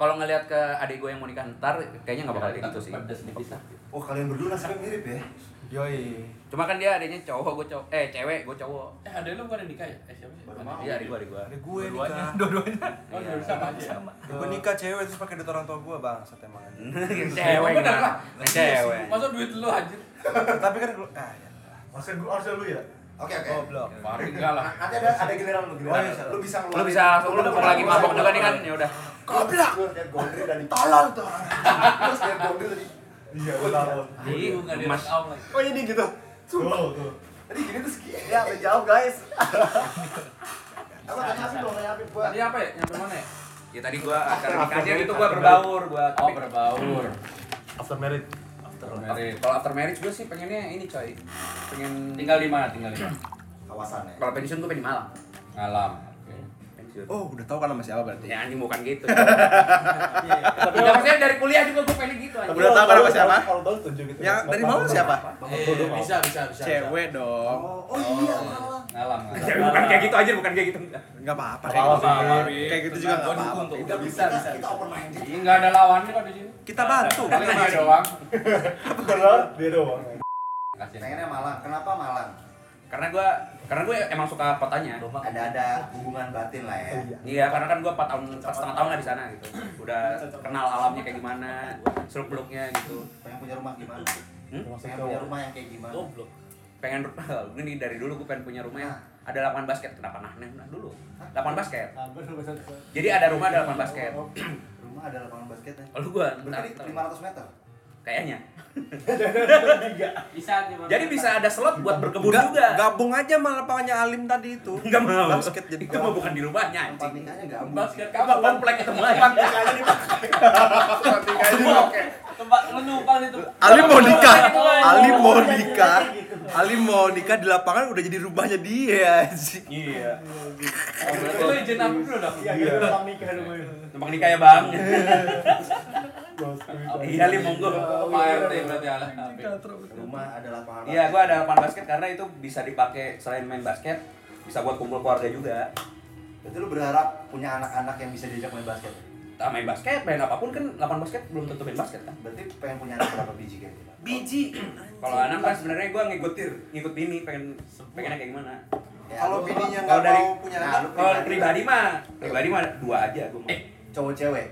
kalau ngelihat ke adik gue yang mau nikah ntar kayaknya nggak bakal kayak gitu sih
Iya, Pedes dipisah.
Oh, kalian berdua nasibnya mirip ya.
Yoi.
cuma kan dia adiknya cowok gue cowok eh cewek gue cowok
Eh, ada lu bukan yang nikah ya? Eh, siapa sih?
Baru mau.
iya adik gue adik Iya, gue
Ada gue
Dua-duanya.
nikah.
Dua-duanya.
Oh, dulu sama aja.
Gue nikah cewek terus pakai duit orang tua gue bang, set emang aja.
Yang cewek
Bener
Mak.
lah.
Yang cewek
Masa duit lu anjir?
Tapi kan gue, ah ya.
Harusnya gua harusnya lu ya.
Oke oke.
Goblok.
Farid enggak lah.
Nanti ada ada giliran lu giliran. Lu bisa ngeluarin.
Lu bisa lu udah lagi mabok juga nih kan. Ya udah.
Goblok. Gua liat Gondri dan tolol tuh orang. Terus liat Gondri tadi. Iya, tolol.
Jadi
Lu enggak di
Mas
out lagi.
Oh jadi gitu. Sumpah. Tadi gini terus gini. Ya, udah jawab guys. Apa tanya Habib dong, tanya Habib gua.
Tadi apa ya? Nyampe mana ya?
ya tadi gua acara nikahan itu gua berbaur gua.
Oh, berbaur.
After married.
Merit.
Kalau after marriage gua sih pengennya ini coy. Pengen
Tinggal di mana? Tinggal di mana?
Kawasannya.
kalau pensiun gua pengen di Malang.
Ngalam.
Pensiun.
Oh, udah tahu kan sama siapa berarti?
Ya anjing bukan gitu. Tapi ya, maksudnya dari kuliah juga gua pengen gitu anjing.
Udah tahu kan sama siapa?
Kalau tahu setuju gitu.
Yang Ya, dari mau siapa?
Eh, bisa, bisa, bisa.
Cewek dong.
Oh, oh iya, malah.
bisa. Ngalam.
Ya, bukan kayak gitu aja, bukan kayak gitu.
Enggak apa-apa.
Nggak apa-apa,
kayak gitu.
Farid.
Kayak gitu juga
Gua
enggak apa-apa.
dukung tuh.
Kita bisa, kita, kita open minded.
Iya, enggak ada lawannya kok di sini.
Kita bantu.
Paling dia doang.
Dia doang.
Kasih.
Pengennya Malang. Kenapa Malang?
Karena gua karena gua emang suka kotanya.
Ada ada hubungan batin lah ya.
Iya, karena kan gua 4 tahun, 4 setengah tahun lah di sana gitu. Udah kenal alamnya kayak gimana, seluk-beluknya gitu.
Pengen punya rumah gimana?
Hmm?
Pengen punya rumah yang kayak gimana?
Goblok. Pengen ini dari dulu gua pengen punya rumah yang ada lapangan basket. Kenapa nah, nah, nah dulu? Lapangan basket. Jadi ada rumah ada lapangan basket.
Oh, Rumah ada lapangan basketnya.
Lalu gua ntar-
Berarti 500 meter.
kayaknya.
Bisa nih, Bang.
Jadi bisa ada slot buat berkebun
Ga-
juga.
Gabung aja malah lapangannya Alim tadi itu.
Enggak mau.
Basket jadi
Itu mah bukan di rumahnya
Tempat
anjing.
nikahnya nggak mungkin.
Basket
Kamu komplek itu mah.
Tempat lu numpang di tempat.
Ali mau nikah. Ali mau nikah. Ali mau nikah di lapangan udah jadi rumahnya dia sih.
Iya.
Itu izin aku dulu dong.
Iya,
Numpang Iya. nikah ya, Bang. Iya, Lim, monggo.
Pak
iya.
RT berarti ala.
Rumah ada lapangan.
Iya, gua ada lapangan basket karena itu bisa dipakai selain main basket, bisa buat kumpul keluarga juga.
Berarti lu berharap punya anak-anak yang bisa diajak main basket.
Tak main basket, main apapun kan lapangan basket belum tentu main basket kan.
Berarti pengen punya anak berapa biji gitu? kira-kira?
Biji. Kalau anak kan sebenarnya gua ngikutin, ngikut bini pengen pengennya kayak gimana.
Ya,
Kalau
lu-
bininya
Kalau
nggak
dari
mau punya
Nah,
anak, Eh,
lu
kalau
pribadi.
pribadi mah, pribadi mah dua aja gua. mau.
Cowok cewek.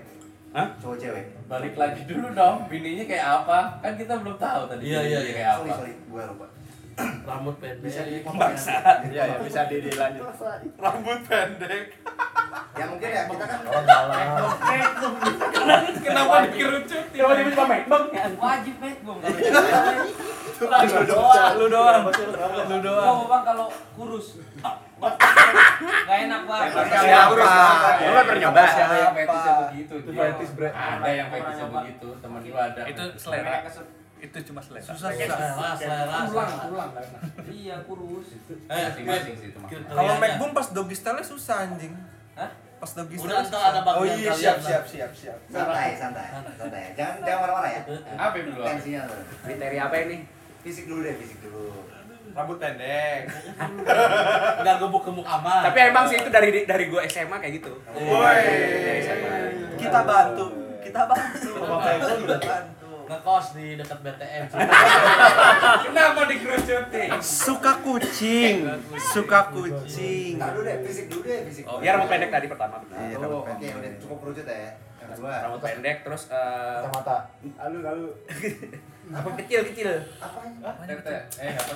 Hah?
Cowok cewek.
Balik lagi dulu dong. Bininya kayak apa? Kan kita belum tahu tadi.
Iya, iya,
bininya
iya.
Kayak
Sorry
apa?
sorry, gue lupa.
Rambut pendek.
Bisa di
Bangsa.
Iya, ya bisa di dilanjut.
Rambut pendek.
Ya mungkin ya kita kan
Kenapa dikerucut?
Tiba tiba main bang.
Wajib bet gua enggak.
Lu doang.
Lu doang.
Gua Bang kalau kurus. Enggak enak, Bang.
Siapa?
Lu kan pernah nyoba.
Ada yang fetisnya begitu. dia.
Fetish, bre.
Ada yang fetisnya begitu. Temen gua ada.
Itu selera. Itu cuma selera. gitu.
Susah, susah.
gitu. Pulang, pulang. Iya, kurus.
Eh,
Masing-masing
gitu.
sih itu maksudnya.
Kalau MacBoom pas doggy style susah anjing.
Hah?
Pas doggy style.
Udah entah ada bagian
Oh iya,
kalian
siap
lah.
siap siap siap.
santai, santai, santai. Jangan jangan marah-marah ya.
Apa yang dulu? Apa?
Tensinya tuh.
Kriteria apa ini?
Fisik dulu deh, fisik dulu.
Rambut pendek.
Enggak gebuk-gebuk amat.
Tapi emang sih itu dari dari gua SMA kayak gitu.
Woi.
Dari SMA.
Kita bantu. Kita bantu.
juga.
ngekos di dekat BTM.
Kenapa dikerucutin?
Suka kucing. Suka kucing.
Entar dulu deh, fisik dulu deh, fisik.
Oh, ya rambut pendek tadi pertama benar.
Iya,
Oh,
rambut
Oke,
pendek.
udah cukup kerucut ya. Yang kedua.
Rambut pendek terus eh
Mata.
apa kecil-kecil.
Apa?
Tete. Eh, apa?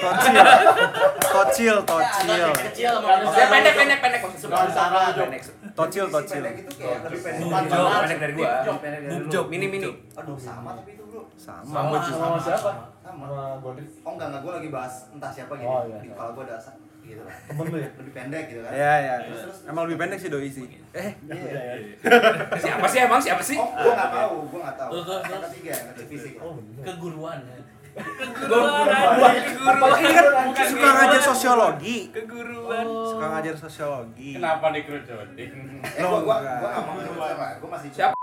Tocil. Tocil, tocil.
Kecil
Ya pendek pendek pendek maksudnya.
Sarah, Jok.
Pendek.
Tocil,
Fisik
tocil.
Pendek itu gitu kayak lebih pendek.
Bukan
Bukan
jauh,
banget.
pendek dari gua.
Pendek dari lu.
Boob job mini mini.
Aduh, sama tapi itu, Bro.
Sama.
Sama, sama siapa?
Sama.
Sama Gondri.
Oh enggak, enggak, gue lagi bahas entah siapa gini
Oh, iya.
Di kepala gue ada asa gitu lah
Temen lu ya?
Lebih pendek gitu kan
Ya, ya. Emang lebih pendek sih doi sih. Eh,
Iya
Siapa sih emang siapa sih?
Oh, gue nggak tahu, gue nggak tahu
Tuh, tuh,
Yang
tuh.
ketiga, yang ketiga fisik
keguruan. ya.
Oh,
ini kan suka
guru.
ngajar sosiologi.
Keguruan.
Suka ngajar sosiologi.
Kenapa dikerucutin?
Eh, gue gua,
enggak.
gua nggak mau ngomong sama, gue masih
Siapa?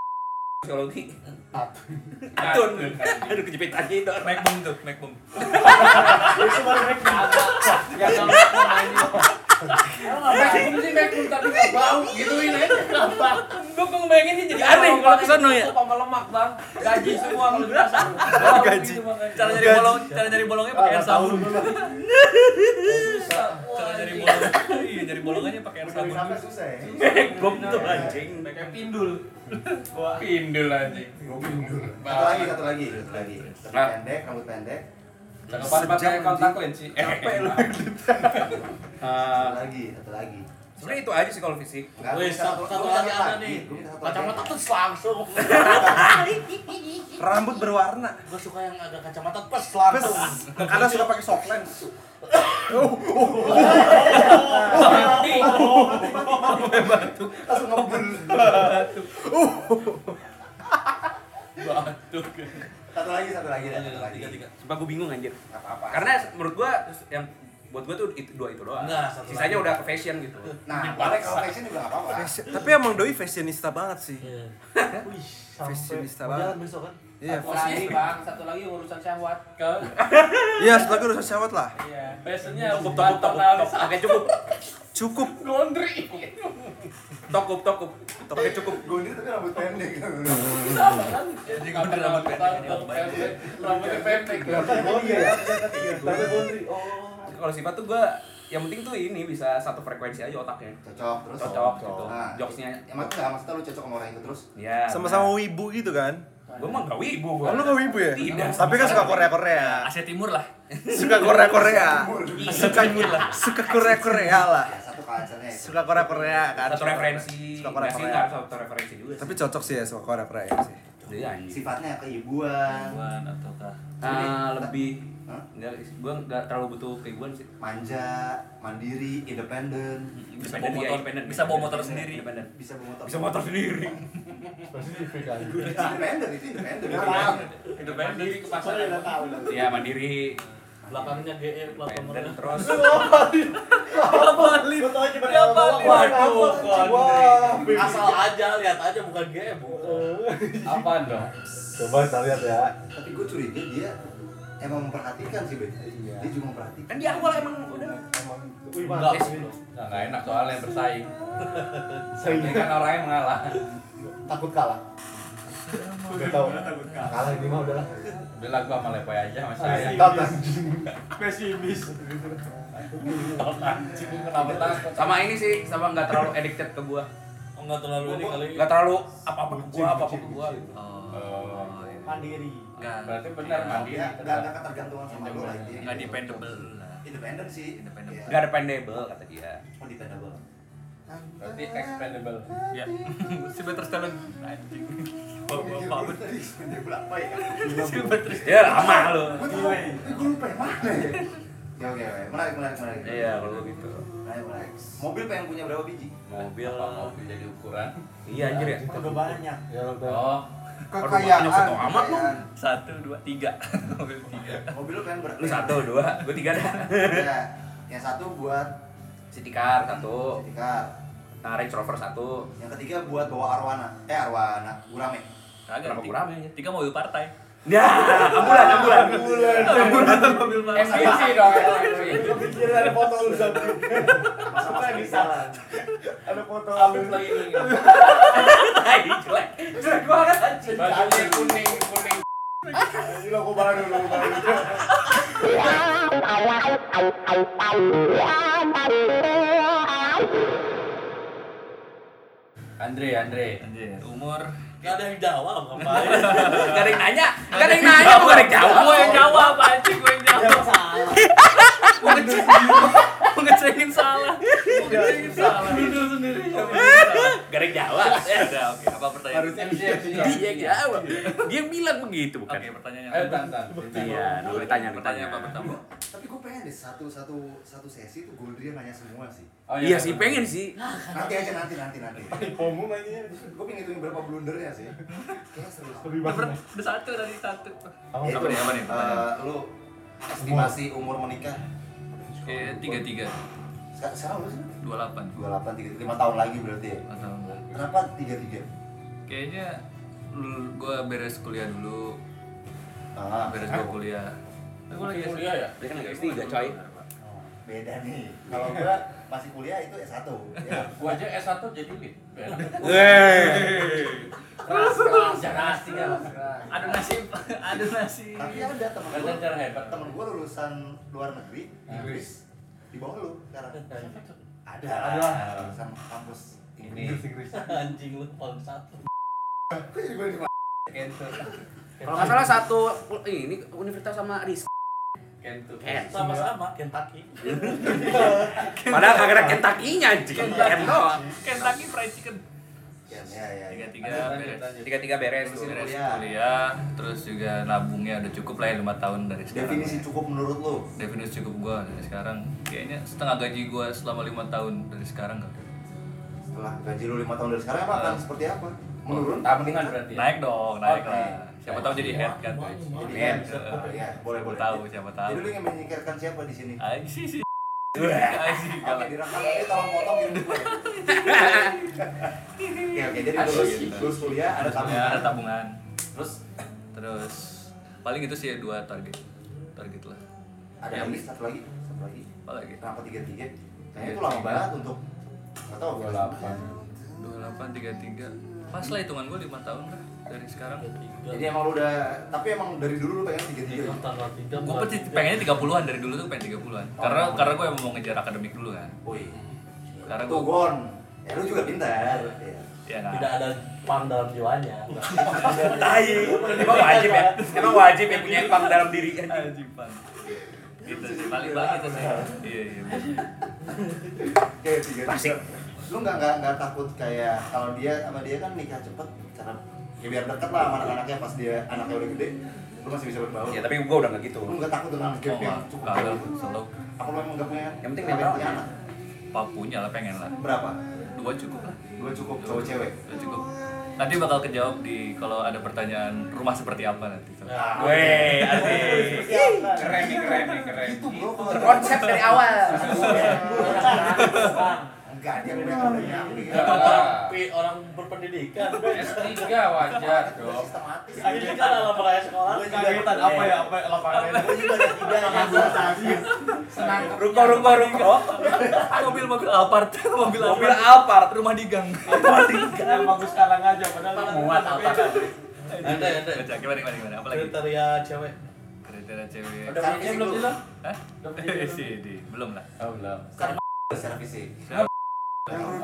Psikologi. Atun. Aduh kejepit aja itu.
MacBoom tuh, MacBoom.
Ya kalau
Mekum sih mekum tapi nggak bau gituin aja.
Gue kok ngebayangin ini jadi aneh kalau ke sono ya.
Papa lemak, Bang. Gaji semua kalau dirasa. gitu,
Gaji.
Cara nyari bolong, cara nyari bolongnya pakai air sabun dulu. Cara nyari bolong. Iya, nyari bolongannya pakai air sabun
Kenapa
dulu.
susah ya?
Gom tuh anjing.
Kayak pindul. Pindul anjing.
Satu lagi, satu lagi, satu lagi. Rambut
Ah.
Nah.
pendek, rambut pendek.
Cakapan pakai kontak lens sih.
Capek lu.
Ah.
Satu lagi, satu lagi.
Sebenarnya itu aja sih kalau fisik.
Enggak,
Wih,
gua minta
satu satu lagi ada nih.
Gua minta satu lagi.
Kacamata terus langsung.
Rambut berwarna.
Gue suka yang ada kacamata plus langsung.
Karena sudah pakai soft lens.
Langsung ngebun.
Batuk.
Satu lagi, satu lagi, dah, satu lagi.
Tiga tiga.
Sumpah gue bingung anjir.
Gak apa-apa.
Karena menurut gua yang buat gua tuh itu, dua itu doang.
Enggak, satu
Sisanya
lagi.
udah ke fashion gitu.
Nah, balik kalau fashion juga gak apa-apa.
Tapi emang Doi fashionista banget sih.
Wih,
Fashionista banget.
sampai- mau jalan besok kan?
Iya.
Satu lagi bang, satu lagi urusan syahwat.
Ke
Iya, setelah gue urusan syawat lah.
Iya.
fashionnya cukup cukup cukup.
Oke cukup,
Cukup.
Laundry.
tokup, tokup, tokup cukup.
Gondir tapi rambut pendek.
Jadi gue udah rambut pendek. Rambutnya pendek.
Iya, ya,
Tapi Gondri, oh.
Kalau sifat tuh gua yang penting tuh ini bisa satu frekuensi aja otaknya.
Cocok terus.
Cocok gitu.
Nah,
Jokesnya
yang mati nggak maksudnya lu cocok sama orang itu terus.
ya.
Sama-sama
Ah.
wibu gitu kan.
Gua mah gak wibu
Oh,
gua.
lu gak wibu ya?
Tidak.
Tapi kan suka Korea-Korea.
Asia Timur lah.
Suka
Iya.
Korea-Korea. Suka Suka Korea-Korea lah.
Ya, satu kancangnya. itu.
Suka Korea-Korea kan.
Satu
Suka
referensi. Enggak sih
Korea-Korea.
enggak harus satu referensi juga.
Tapi cocok sih ya suka Korea-Korea sih.
sih. Iya, anjing.
Sifatnya keibuan,
Bukan ataukah
Ah, lebih
Hah?
enggak gua enggak terlalu butuh keibuan sih.
manja, mandiri, Iya, independen,
bisa bawa motor, bisa bawa motor sendiri.
ya, Independen.
bisa bawa motor.
Bisa motor sendiri.
Itu Independen itu independen. Iya.
Independen jadi ke pasar.
Saya udah tahu lah.
Iya, mandiri.
Belakangnya GE,
Independen
belakangnya.
terus
kan,
Gua tau aja pada bawah,
nih?
wah,
Waduh,
apa?
Gondri.
Wah, baby.
Asal aja lihat aja bukan GE, bukan.
Apaan dong?
Coba kita lihat ya.
Tapi gue curiga dia emang memperhatikan sih, Ben. Dia juga memperhatikan.
kan di awal emang udah
Wih,
Enggak
mantap.
sih.
Nah,
Enggak enggak enak soalnya yang bersaing. Ini kan orangnya mengalah.
Takut kalah. Udah tahu. Kalah ini mah udahlah.
Udah lah gua sama Lepoy aja sama saya.
Pesimis.
Kenapa takut?
sama ini sih sama nggak terlalu addicted ke gua
Oh enggak terlalu ini kali.
nggak terlalu apa apa ke gua apa apa ke gua gitu
Oh, iya.
Mandiri.
Enggak
Berarti benar mandiri.
Dia nggak ada ketergantungan sama lu lah intinya.
enggak dependable lah.
Independen sih.
Independen.
Iya.
nggak dependable kata dia
Oh, dependable.
Berarti expendable.
Ya. Sylvester Stallone anjing.
Oh, iya.
Bapak
Bapak Dia berapa ya?
Iya,
ya lama lo
Gue tahu, gue lupa yang mana ya. Ya oke, oke. menarik, menarik, menarik.
iya kalau gitu
Menarik, menarik. Mobil pengen punya berapa biji?
mobil
Apa mau jadi ukuran?
iya anjir ya
Udah banyak.
Oh,
banyak satu amat lu.
Kekayaan.
Satu, dua, tiga. Mobil tiga.
Mobil lu pengen berapa?
lu satu dua gua tiga dah
Iya. Yang satu buat
sitikar satu
Tikar.
nah Range Rover satu
Yang ketiga buat bawa arwana. Eh arwana, gurame.
Kenapa
Kagak. tiga.
kurang ya?
Tiga mobil partai.
ya ambulan ambulan
Mobil
SPC dong.
Pikirin ada foto lu sampai. Masa bisa lah. Ada foto
Habis
lu.
lagi ini.
Tai, jelek jelek banget anjir
Bajunya kuning, kuning.
Ini lo gua barang dulu.
Andre, Andre.
Umur
Enggak ada yang jawab ngapain.
gak ada yang nanya gak ada yang nanya gak ada yang jawab
Gue yang jawab anjing, gue yang jawab. Gue ngecengin. Gue ngecengin salah. Gue ngecengin salah. Duduk sendiri.
gak ada yang jawab
Ya udah, oke. Apa pertanyaan?
MC, MC.
dia yang jawab dia yang bilang begitu bukan
Oke, pertanyaan
Ayo,
yang
tan, tan.
Iya, dulu ditanya,
Pertanyaan apa
ditanya.
pertama?
Tapi gue pengen deh satu satu satu sesi itu Goldrian nanya semua sih. Nah, kan
Oh,
Iya sih pengen sih.
Nanti aja nanti nanti nanti.
Homo nanya.
Gue pengen hitungin berapa blundernya sih. Kayaknya seru.
Lebih
Udah
banyak.
udah satu dari satu.
Apa
Ya, itu,
nih, apa nih?
eh, lu estimasi umur menikah
Oke, Eh, tiga tiga,
sekarang, sekarang lu sih
dua delapan.
28 tiga lima tahun lagi berarti ya.
Atau enggak?
Kenapa 33?
Kayaknya gue beres kuliah dulu,
Ah,
beres gue kuliah.
Gue
Iya,
lagi kuliah ya?
Dia kan lagi S3 coy.
beda nih. Kalau gua masih kuliah itu S1. Ya.
Gua aja S1 jadi lead.
Keras, keras, keras,
Tiga.
Ada nasib, ada nasib.
Tapi ada Ya temen
Karena
gua,
cara hebat.
temen gua lulusan luar negeri, Inggris, di bawah lu sekarang. Ada
Ada.
lah, lulusan kampus
Ini.
Inggris. Ya,
Anjing lu paling satu.
Gua juga di
Kalau nggak salah satu ini universitas sama Rizky.
Kentucky.
Sama-sama Kentucky.
Padahal kagak ada Kentucky-nya anjing. Ken doang.
Kentucky Fried Chicken.
Ya, ya, ya.
Tiga tiga
Lanjut, lanjut,
beres.
lanjut.
Tiga-tiga beres tuh.
Beres
Kuliah.
kuliah, terus juga nabungnya udah cukup lah ya lima tahun dari sekarang.
Definisi cukup menurut lu?
Definisi cukup gua dari sekarang. Kayaknya setengah gaji gua selama lima tahun dari sekarang kali.
Setelah gaji lu 5 tahun dari sekarang apa akan
Eh.
seperti apa? Menurun?
Tabungan berarti. ya?
Naik dong, naik
Oke.
lah. Siapa tahu jadi head kan.
Jadi
Iya,
kan, ya, boleh boleh.
Tahu siapa tahu. Ah, iya.
Jadi lu ingin menyingkirkan siapa di sini?
Aji sih sih. Aji
Apa
kalah.
direkam ini tolong potong gitu. Oke oke jadi lu lulus lulus kuliah ada
Tabungan,
tabungan.
ada tabungan.
Terus
Terus paling itu sih ya dua target. Target lah.
ada lagi satu lagi satu lagi.
Apa lagi?
Kenapa tiga tiga? Kayaknya itu lama banget untuk nggak tahu. Dua delapan.
2833. Pas lah hitungan gua 5 tahun lah dari sekarang.
Jadi emang lu udah tapi emang dari dulu lu pengen tiga tiga.
Iya.
tanggal tiga.
Gue pengennya 30-an dari dulu tuh pengen 30-an. Karena karena gue emang mau ngejar akademik dulu kan.
Woi.
Karena
Tuh
gua
Gon, ya lu juga pintar. Ya.
ya nah.
Tidak ada pang dalam jiwanya.
Tai. Emang wajib ya? Emang wajib ya punya pang dalam diri anjing.
Ajiban. Gitu sih paling banget itu sih. Iya iya.
Oke tiga tiga. Lu nggak nggak nggak takut kayak kalau dia sama dia kan nikah cepet karena ya biar deket lah sama anak-anaknya pas dia anaknya udah gede, lu masih bisa berbaur.
Ya tapi gua udah nggak gitu.
Lu nggak takut dengan gap yang cukup
Kalau
jauh?
selalu
Apa lu emang nggak punya?
Yang penting
nggak
mental.
punya anak.
papunya lah pengen lah.
Berapa?
Dua cukup lah.
Dua cukup cowok cewek.
Dua cukup. Nanti bakal kejawab di kalau ada pertanyaan rumah seperti apa nanti.
Nah,
Weh, asik.
Keren nih, keren nih, keren.
Itu bro kalau
Konsep dari awal.
Enggak dia punya kabarnya.
Tapi orang berpendidikan.
S3 wajar dong.
Sistematis.
Akhirnya kan lama kayak sekolah.
Gue Oh, kagetan apa ya apa ya, lapangannya.
Gue juga ada tiga yang gue sakit.
Ruko, ruko, ruko.
Oh.
Mobil-mobil Alphard, mobil
Mobil Alphard, rumah di gang.
Yang bagus sekarang aja padahal lu
Muat apa?
Ada ada. Gimana gimana gimana? Apa lagi?
Kriteria cewek.
Kriteria cewek.
Udah punya belum sih lo?
Hah? Sih, di- belum lah.
Secara fisik.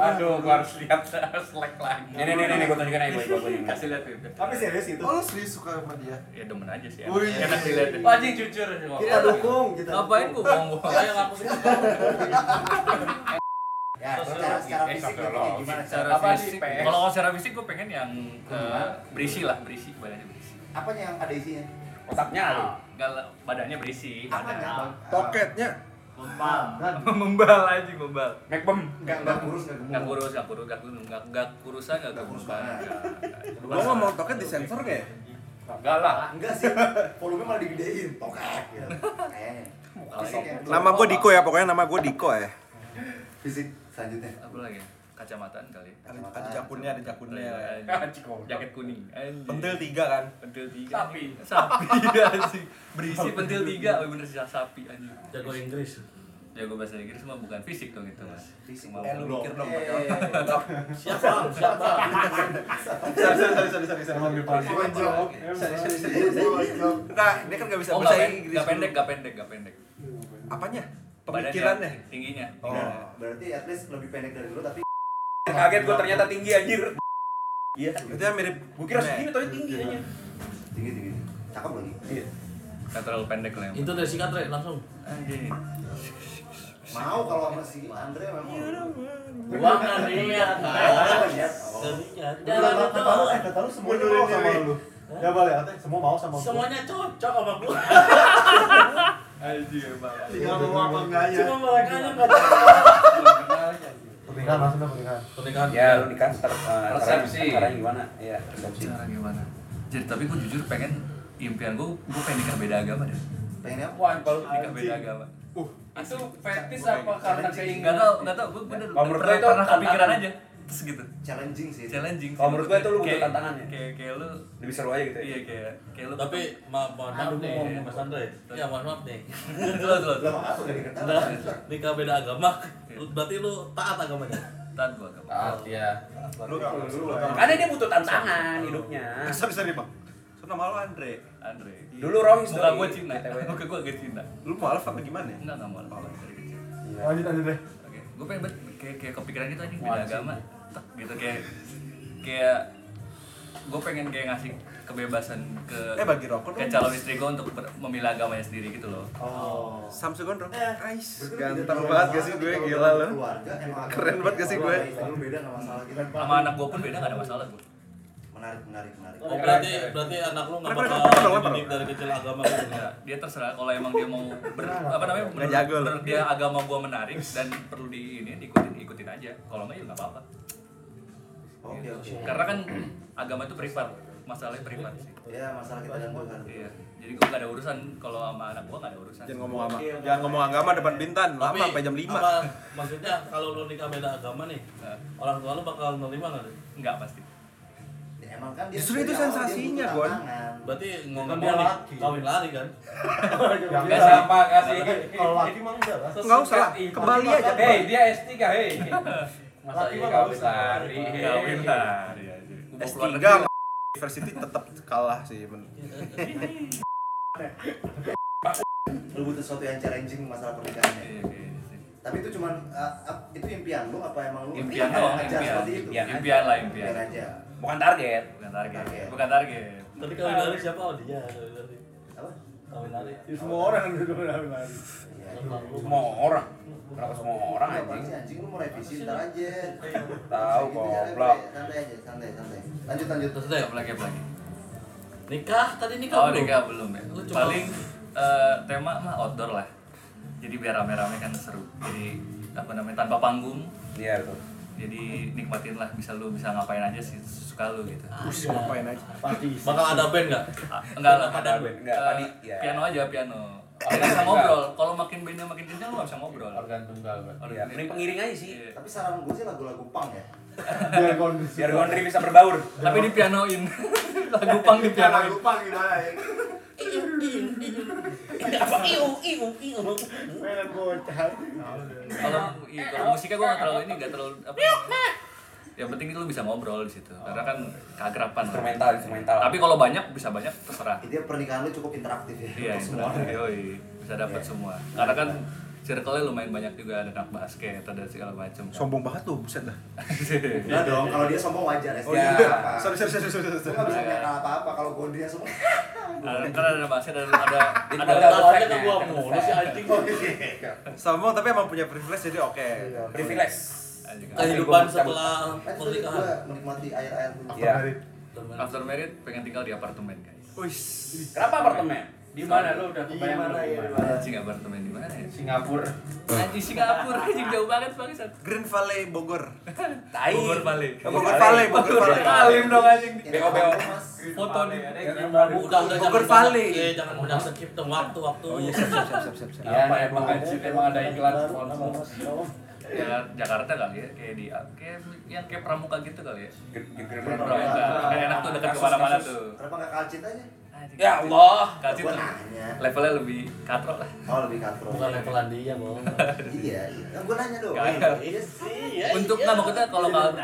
Aduh, gua harus lihat slack lagi.
Nih, nih, nih, nih, gua tunjukin aja, boy, gua tunjukin.
Kasih lihat Beb.
Tapi serius itu.
Oh lu serius suka sama dia?
Ya demen aja sih.
Wih.
Ya kasih lihat. Beb.
Wajib jujur.
Kita dukung, kita
Ngapain gua bohong-bohong?
Ayo ngapusin.
Ya, secara secara fisik lu kayak gimana? Cara
secara
Apa
fisik
sih, PS?
kalau secara fisik gue pengen yang eh, berisi lah berisi badannya berisi
apanya yang ada isinya?
Otaknya lu.
enggak lah, badannya berisi
Apanya?
badan
Bang?
Toketnya?
membal aja membal
Macbum.
Enggak enggak kurus enggak
nggak
gemuk.
kurus nggak kurus nggak kurus nggak nggak kurusan nggak
Nggak
kurus
kurus
banget
banget.
Gua ngomong toket di sensor nggak ya?
enggak lah
Enggak sih. Volumenya malah digedein. Tokek gitu. Kayaknya. Fisik yang-
Nama gua Diko ya, pokoknya nama gua Diko ya.
fisik selanjutnya.
apa lagi kacamataan kali
Ada jakunnya, ada
Iya,
jakunnya.
jaket kuning anjing.
Pentil tiga kan?
pentil tiga
Sapi.
sapi anjing berisi pentil tiga oh bener sih sapi anjing
Jago Inggris.
jago bahasa Inggris mah bukan fisik dong itu mas
Fisik.
Cuma-
Eh lu mikir dong.
Siap, Bang. Siap, Bang.
Sorry, sorry, sorry, sorry, sorry, sorry.
Gonjok.
Sorry, sorry, sorry.
Gonjok.
Enggak, dia kan nggak bisa
Oh, nggak
bahasa
pen-
Inggris.
nggak pendek, nggak pendek, nggak pendek.
Apanya?
Badannya,
Pemikirannya.
tingginya.
Oh.
Nah, berarti at least lebih pendek dari lu tapi
Kaget gua ternyata tinggi anjir. Iya.
Itu yang mirip
Gua kira segini tapi tinggi aja.
tinggi tinggi. Cakep lagi.
Nggak terlalu pendek lah.
Itu dari sikat, Re, langsung.
Anjing.
Mau kalau sama si Andre memang.
Gua nggak lihat.
Nah, lihat.
Nggak lihat.
Jangan
Jalan
lu
itu.
kata lu, eh kata lu semua
mundurin
mau
diri.
sama lu.
Ya boleh, katanya semua mau sama gua.
Semuanya cocok sama gua.
Anjing emang.
tinggal mau apa enggaknya.
Cuma mereka aja nggak cocok.
Pernikahan maksudnya pernikahan.
Pernikahan.
Ya lu nikah ntar
Resepsi.
caranya gimana? Iya, resepsi.
Cara gimana? Jadi tapi gue jujur pengen impian gue, gue pengen nikah beda agama deh.
Pengennya apa?
Wah, kalau
Nikah
Iya.
beda agama.
Uh.
itu fetis apa karena
Gak
keinginan?
tau, gak tau.
Ya,
Gue bener
Kalau
udah
menurut
pernah,
gua itu
pernah kepikiran
tantangan.
aja. Terus gitu.
Challenging sih.
Challenging.
Kalau menurut gua itu lu butuh
Kayak-
tantangannya.
Kayak kayak lu,
Lebih seru aja gitu ya.
iya kayak kayak lu.
Tapi ma- mohon maaf nih, Mas Andre. Ya mohon maaf nih.
lo lo
Lah maaf udah diketahui.
Nah, nikah beda agama, lu- berarti lu taat agamanya.
taat gue agama.
Taat
Iya.
ya.
Lu kalau dulu
Karena Ah, dia butuh tantangan hidupnya.
Bisa bisa nih Eh, bang. So, nama lu Andre.
Andre.
Dulu Rohis
Muka
doi.
gue Cina.
BTW.
Muka gue agak Cina.
Lu mau alfa apa gimana?
Enggak nggak mau apa dari kecil.
Lanjut lanjut deh.
Oke, gue
gitu,
pengen bet kayak kayak kepikiran itu anjing beda agama, Tek, gitu kayak kayak
gue pengen kayak ngasih kebebasan ke
Eh bagi rokok
ke
dong.
calon istri gue untuk ber- memilih agamanya sendiri gitu loh.
Oh.
Samsugon dong. kan Ais, Eh, ganteng
Berarti
banget gak sih
ketika
gue
udah
gila lo.
Keluarga emang agak-
Keren banget gak sih gue?
Lu beda nggak masalah kita.
Sama anak gue pun beda gak ada masalah gue.
Menarik, menarik, menarik.
Oh, berarti berarti anak lu nggak
Kenapa,
bakal
kenapa, kenapa,
dididik dari kecil agama gitu ya?
Dia terserah kalau emang dia mau ber, apa namanya menurut,
jago lu.
menurut dia agama gue menarik dan perlu di ini diikutin ikutin aja. Kalau nggak ya nggak apa-apa.
Oke, oke.
Karena kan agama itu privat, masalahnya privat sih.
Ya, masalah kita dan gue kan.
Iya. Jadi gue gak ada urusan kalau sama anak gue gak ada urusan.
Jangan ngomong agama. Jangan ngomong agama depan bintan. Lama
Tapi,
sampai jam 5.
apa, maksudnya kalau lu nikah beda agama nih, orang tua lu bakal nerima nggak? nih?
Enggak pasti.
Ya, emang kan dia dari
Justru itu
awal dia
sensasinya,
butuh
Gon.
tantangan.
Berarti ngomong
dia
nih,
laki.
kawin lari kan?
Yang
Iya,
Gak siapa kasih.
Kalau laki mah enggak lah.
Enggak usah lah. Kembali
Iya, eh,
aja.
Hei, dia S3, hei. Masa
Laki
iya
mah Iya. nggak
kawin
usah.
lari. hei.
Kawin lah. Iya, iya.
S3 sama University tetap kalah sih. men.
Lu butuh sesuatu yang challenging masalah pernikahannya.
Iya, iya, iya.
Tapi itu cuman uh, ap- itu impian lu apa emang lu?
Impian
Iya,
doang,
ngejar
impian.
seperti itu.
Impian. Impian lah, impian.
Impian aja.
Bukan target, bukan target.
Target.
Bukan target.
Tapi kawin lari siapa? Oh dia kawin lari.
Apa?
Kawin lari.
Semua orang dulu lari.
Iya.
Semua orang. Kenapa semua orang
Lu apaan
anjing?
sih, anjing lu mau revisi ntar aja.
Tahu
Gitu,
goblok.
santai, Santai aja, santai, santai. Lanjut, lanjut.
Terus
ya,
udah apalagi apalagi.
Nikah tadi nikah
Oh,
belum?
nikah belum ya.
Lu cuma-
Paling eh, tema mah outdoor lah. Jadi biar rame-rame kan seru. Jadi apa namanya tanpa panggung.
Iya betul.
Jadi nikmatin lah bisa lu bisa ngapain aja sih sesuka lu gitu.
Ah.
Terus ngapain aja.
Bakal ada band nggak?
Ah, enggak lah,
Padahal
ada
band, enggak,
eh,
tadi, ya.
Piano aja piano. Kita bisa ngobrol. Kalau makin bandnya makin kencang lu nggak bisa ngobrol.
Organ tunggal, Bang.
Iya, mending pengiring aja sih.
Iya.
Tapi saran gue sih lagu-lagu punk ya.
Biar kondisi.
Biar Gondri bisa berbaur.
Tapi di pianoin. Lagu pang di pianoin.
punk gitu aja.
Iu, iu, iu. Apa iu, iu, iu.
Mainan bocah.
Kalau iya, kalau musiknya gue nggak terlalu ini nggak terlalu apa. Yang penting itu lu bisa ngobrol di situ. Karena kan keakraban.
Instrumental, instrumental.
Tapi kalau banyak bisa banyak terserah.
Intinya pernikahan lu cukup interaktif ya.
Iya,
untuk semua.
interaktif, yoi. bisa dapat semua. Karena kan circle-nya lumayan banyak juga ada anak basket ada segala macem. kan. Iya.
Sombong banget tuh, buset dah.
Enggak dong, kalau dia sombong wajar ya.
Oh
Ya,
iya.
apa.
Sorry, sorry, sorry, sorry.
Lu
sorry.
nggak bisa nyangka apa-apa kalau gondrinya semua.
Ada kan ada basket ada ada ada
Ada
ada
aja ke gua mulu si anjing.
Sombong tapi emang punya privilege jadi oke.
Privilege.
kan.
Kehidupan setelah
Kan itu tadi
pernikahan.
gua menikmati air-air dulu.
Iya.
After married pengen tinggal di apartemen guys.
Wis.
Kenapa apartemen?
Di mana lu udah kebayang
Gimana
belum?
ya?
Gimana?
gimana?
Anjing apartemen di mana ya?
Singapura.
Anjing Singapura anjing jauh banget bangsat.
Green Valley Bogor.
Tai.
Bogor balik.
Bogor Valley, Bogor Valley.
Alim dong anjing.
Ini
BO.
apa, Mas?
Foto nih.
Udah, udah
Bogor
jangan
Valley.
banyak- eh, jangan banyak skip dong waktu, waktu.
Oh, iya,
Ya, emang anjing, emang ada iklan sponsor.
Ya, Jakarta kali ya, kayak di kayak yang kayak pramuka gitu kali ya. Pramuka.
Pramuka.
Kan enak tuh dekat kemana mana tuh.
Kenapa nggak kalcit aja?
Anjing,
Ya
kasih-
Allah.
Kasih
Gua
tuh
nanya.
levelnya lebih katrok lah.
Oh lebih katro.
Bukan levelan dia, Bang.
Iya, iya. Kan gua nanya dong.
Gak.
Iya sih.
Ya,
Untuk
iya.
nggak maksudnya kalau kal-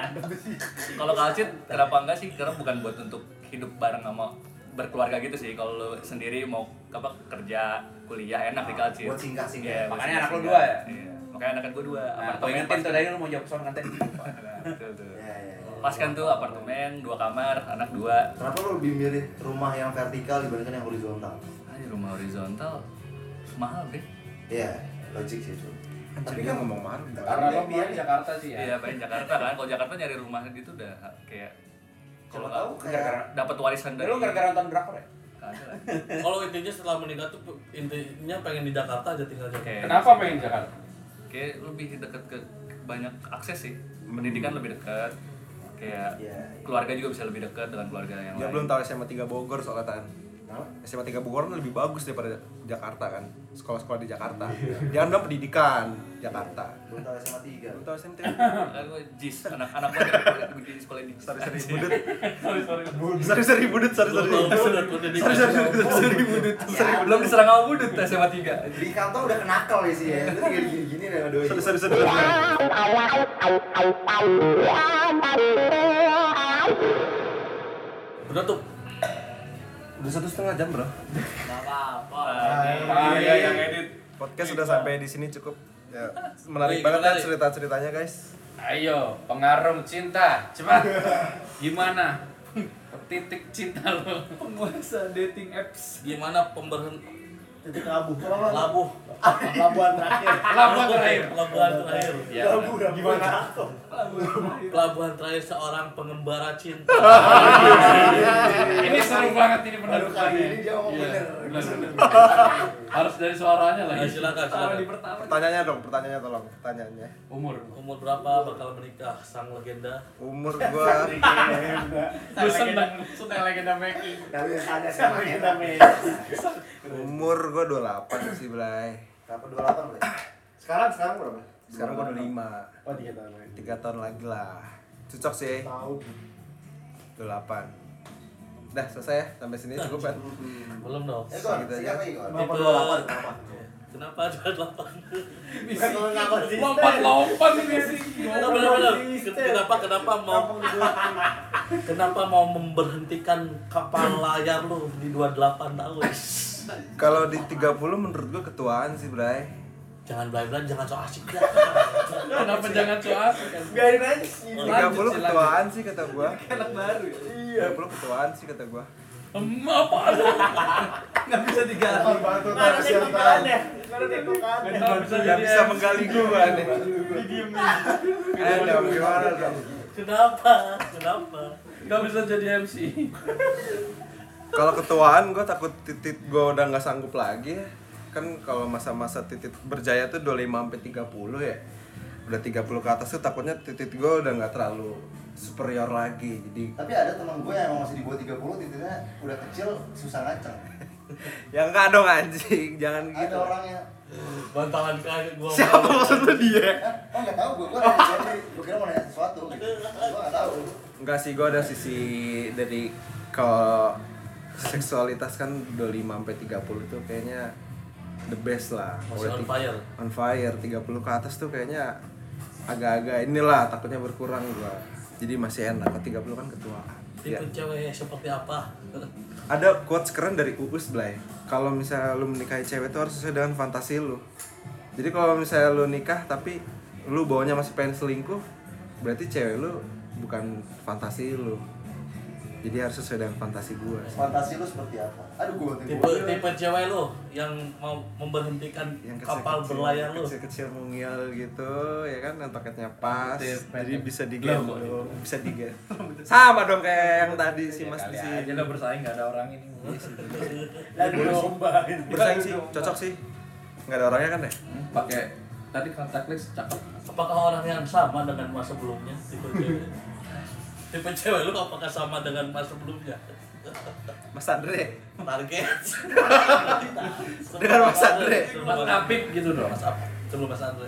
kalau kalcit kenapa enggak sih? Karena bukan buat untuk hidup bareng sama berkeluarga gitu sih. Kalau lu sendiri mau apa kerja, kuliah enak di kalcit.
Buat singgah-singgah.
Iya, buat
Makanya anak lu
singgah-singgah.
dua ya?
Iya. Makanya anak gue dua.
Nah,
Apartemen
kau ingetin
pas-
tuh tadi lu mau jawab soal nanti.
Nah, betul tuh.
Iya, iya.
Pas kan tuh apartemen, dua kamar, anak dua.
Kenapa lu lebih milih rumah yang vertikal dibandingkan yang horizontal?
Ayo rumah horizontal mahal deh.
Iya, logik sih itu.
Tapi kan ngomong mahal.
Karena lo main Jakarta sih ya.
Iya, pengen Jakarta kan. Kalau Jakarta nyari rumah gitu udah kayak kalau
Siapa tahu kayak
nggak dapat warisan dari
Lu gara-gara nonton drakor ya?
Kagak lah.
Kalau intinya setelah menikah tuh intinya pengen di Jakarta aja tinggal Jakarta.
Kayak-
Kenapa pengen Jakarta?
kayak lebih dekat ke banyak akses sih pendidikan lebih dekat kayak
Iya,
keluarga juga bisa lebih dekat dengan keluarga yang
Dia
lain
belum tahu SMA 3 Bogor soalnya tan.
Kenapa?
SMA 3 Bogor lebih bagus daripada Jakarta kan. Sekolah-sekolah di Jakarta. Dia kan bilang pendidikan Jakarta.
Belum tahu SMA 3.
Belum tahu SMA 3.
kan gue jis anak anak gue di sekolah di
Sorry sorry
Anjing.
budut. Sorry sorry budut. Sorry sorry.
Belum
Sorry
tahu udah
sorry
pendidikan.
sorry, sorry budut. Sorry budut.
belum diserang sama budut SMA 3
Di kantor udah kenakal ya sih ya. Lu kayak gini-gini deh sama doi.
Sorry sorry sorry.
Udah tuh.
Udah satu setengah jam bro.
Ah, iya yang edit.
Podcast sudah sampai di sini cukup. Iya, Ya, menarik
Wih,
banget kan
menarik.
cerita-ceritanya guys.
Ayo, pengarung cinta, cepat. Gimana? titik cinta lo
penguasa dating apps
Gimana pemberhen
titik abu
labuh
labuan terakhir
pelabuhan terakhir
Iya.
pelabuhan terakhir
ya
gimana
pelabuhan terakhir seorang pengembara cinta
ini seru banget ini
Baru kali
penutupannya
ini dia ngomong bener.
Bener, bener. harus dari suaranya lah
Nah, silakan silakan
Pertanyaannya Iya dong, pertanyaannya tolong, pertanyaannya.
umur
umur berapa bakal menikah sang legenda
Umur gua
lu seneng seneng legenda Meki
Kali yang tanya sama kita.
umur gua 28 sih, Blay.
Berapa 28 Bre? Sekarang sekarang berapa?
Sekarang gua 25.
Oh, tiga tahun lagi.
3 tahun lagi lah. Cocok sih.
Tahu.
28. Dah, selesai ya. Sampai sini cukup kan?
belum dong
Eh Gon,
Segitu
sikat
aja.
lagi Gon.
Kenapa
Tipe-
28? Kenapa?
kenapa ada delapan
lompat lompat ini sih
Kenapa, kenapa, kenapa, kenapa mau kenapa mau memberhentikan kapal layar lu di 28 tahun?
Kalau di 30 menurut gua ketuaan sih, Blay.
Jangan belai-belai, jangan so asik dah.
kenapa jangan cuas
biarin aja sih
30 ketuaan sih kata gua.
anak baru ya?
30 ketuaan sih kata gua.
Em, apa lu?
nggak bisa diganti
Bantu
nggak ada
siapa?
tekukannya nggak ada tekukannya
Nggak bisa
Gak
jadi
bisa
MC.
menggali gua nih. Ayo dong, gimana dong?
Kenapa? Kenapa?
Nggak bisa jadi MC
Kalau ketuaan gue takut titit gue udah nggak sanggup lagi ya. Kan kalau masa-masa titit berjaya tuh 25 sampai 30 ya. Udah 30 ke atas tuh takutnya titit gue udah nggak terlalu superior lagi. Jadi
Tapi ada teman gue yang emang masih di bawah 30 titiknya udah kecil susah ngaceng.
ya enggak dong anjing, jangan
Ada
gitu.
orang yang
Bantalan kaki gua.
Siapa maksud lu dia?
Oh nggak tahu gue, gue nanya sesuatu, gue kira mau nanya sesuatu gitu. Gue nggak tahu.
Enggak sih, gue ada sisi dari ke seksualitas kan 25 sampai 30 tuh kayaknya the best lah.
Masih on
Udah
fire.
on fire 30 ke atas tuh kayaknya agak-agak inilah takutnya berkurang gua jadi masih enak ke 30 kan ketuaan Ya.
Tipe cewek seperti apa?
ada quotes keren dari Uus Blay kalau misalnya lu menikahi cewek tuh harus sesuai dengan fantasi lu jadi kalau misalnya lu nikah tapi lu bawanya masih pengen selingkuh berarti cewek lu bukan fantasi lu jadi harus sesuai dengan fantasi gua
Fantasi lu seperti apa? Aduh gue bantu
Tipe tipe cewek lu yang mau memberhentikan
Iya. yang kecil,
kapal berlayar lu.
kecil kecil mungil gitu ya kan yang toketnya pas Iya, jadi bisa digendong bisa digendong sama dong kayak yang tadi si mas di sini
aja udah bersaing nggak ada orang ini
bersaing sih cocok sih nggak ada orangnya kan deh
pakai tadi kontak list cakep
Apakah orang yang sama dengan mas sebelumnya? Tipe cewek. tipe cewek lu apakah sama dengan mas sebelumnya?
mas Andre
Target.
Dengan Mas Andre.
Mas Apip gitu dong. Mas Apip. Sebelum Mas Andre.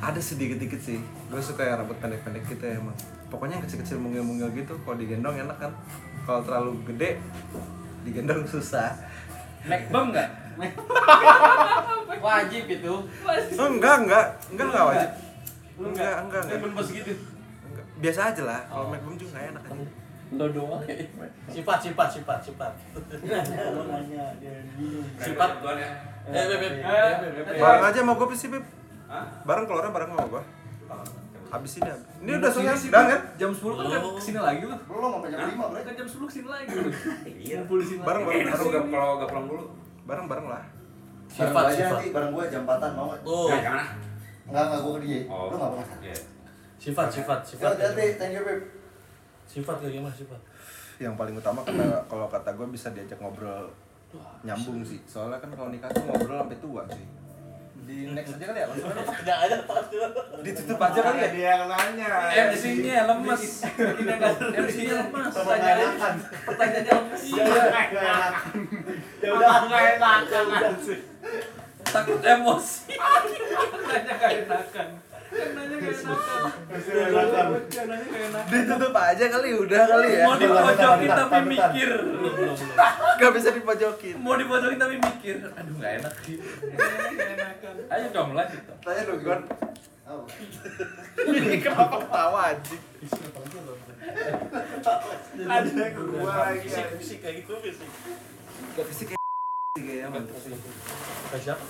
ada sedikit dikit sih gue suka yang rambut pendek pendek gitu ya emang pokoknya yang kecil kecil mungil mungil gitu kalau digendong enak kan kalau terlalu gede digendong susah
naik bom nggak
Wajib itu.
oh, enggak enggak enggak enggak wajib
Lu
enggak
nggak?
enggak enggak,
naik bom pas gitu
Enggak. biasa aja lah kalau make MacBook juga nggak enak aja
lo doang ya
Sifat, sifat, sifat, sifat.
nanya dia bingung
Sifat. Eh, beb, beb. Eh, beb, beb.
Bareng aja sama gue sih, Bib. Bareng keluarnya bareng sama gue. Habis ini. habis. Ini udah selesai sih, Bang. kan?
jam 10 kan
Oh.
kesini lagi lu
Belum sampai jam 5 bre.
kan jam 10 kesini lagi lu ngumpul di sini
Bareng
lagi
bareng bareng
Kalau kalau gak pulang dulu,
bareng bareng lah.
Bareng
Sifat,
gue aja
sifat.
nanti bareng gue jam 4-an mau nggak?
Oh,
ya jangan ah.
Nggak nggak gue ke dia.
Oh.
Lu nggak pernah. kan?
Iya.
sifat, sifat,
Ya
sifat.
hati-hati, thank you babe.
Sifat kayak gimana sifat?
Yang paling utama kata- kalau kata gue bisa diajak ngobrol nyambung sih. Soalnya kan kalau nikah tuh ngobrol sampai tua sih. Di next aja kali ya. langsung aja.
Enggak ada pasti.
Ditutup aja kali ya. Iya,
Dia yang nanya.
MC-nya lemes MC-nya lemes pertanyaannya pertanyaannya lemes
ya udah nggak enak
takut emosi pertanyaannya gak enakan
Kan
Nanya gak enakan. Nanya gak enakan.
Ditutup aja kali udah kali ya.
Mau dipojokin tapi mikir.
Gak bisa dipojokin.
Mau dipojokin tapi mikir. Aduh gak enak. Nanya gak enakan.
ayo dong lanjut dong
Tanya dong, Gon.
Oh.
Ini kenapa ketawa anjing?
Ada gua lagi.
Fisik, fisik kayak gitu, fisik.
Gak bisa kayak sih kayaknya mantep sih.
Kayak siapa?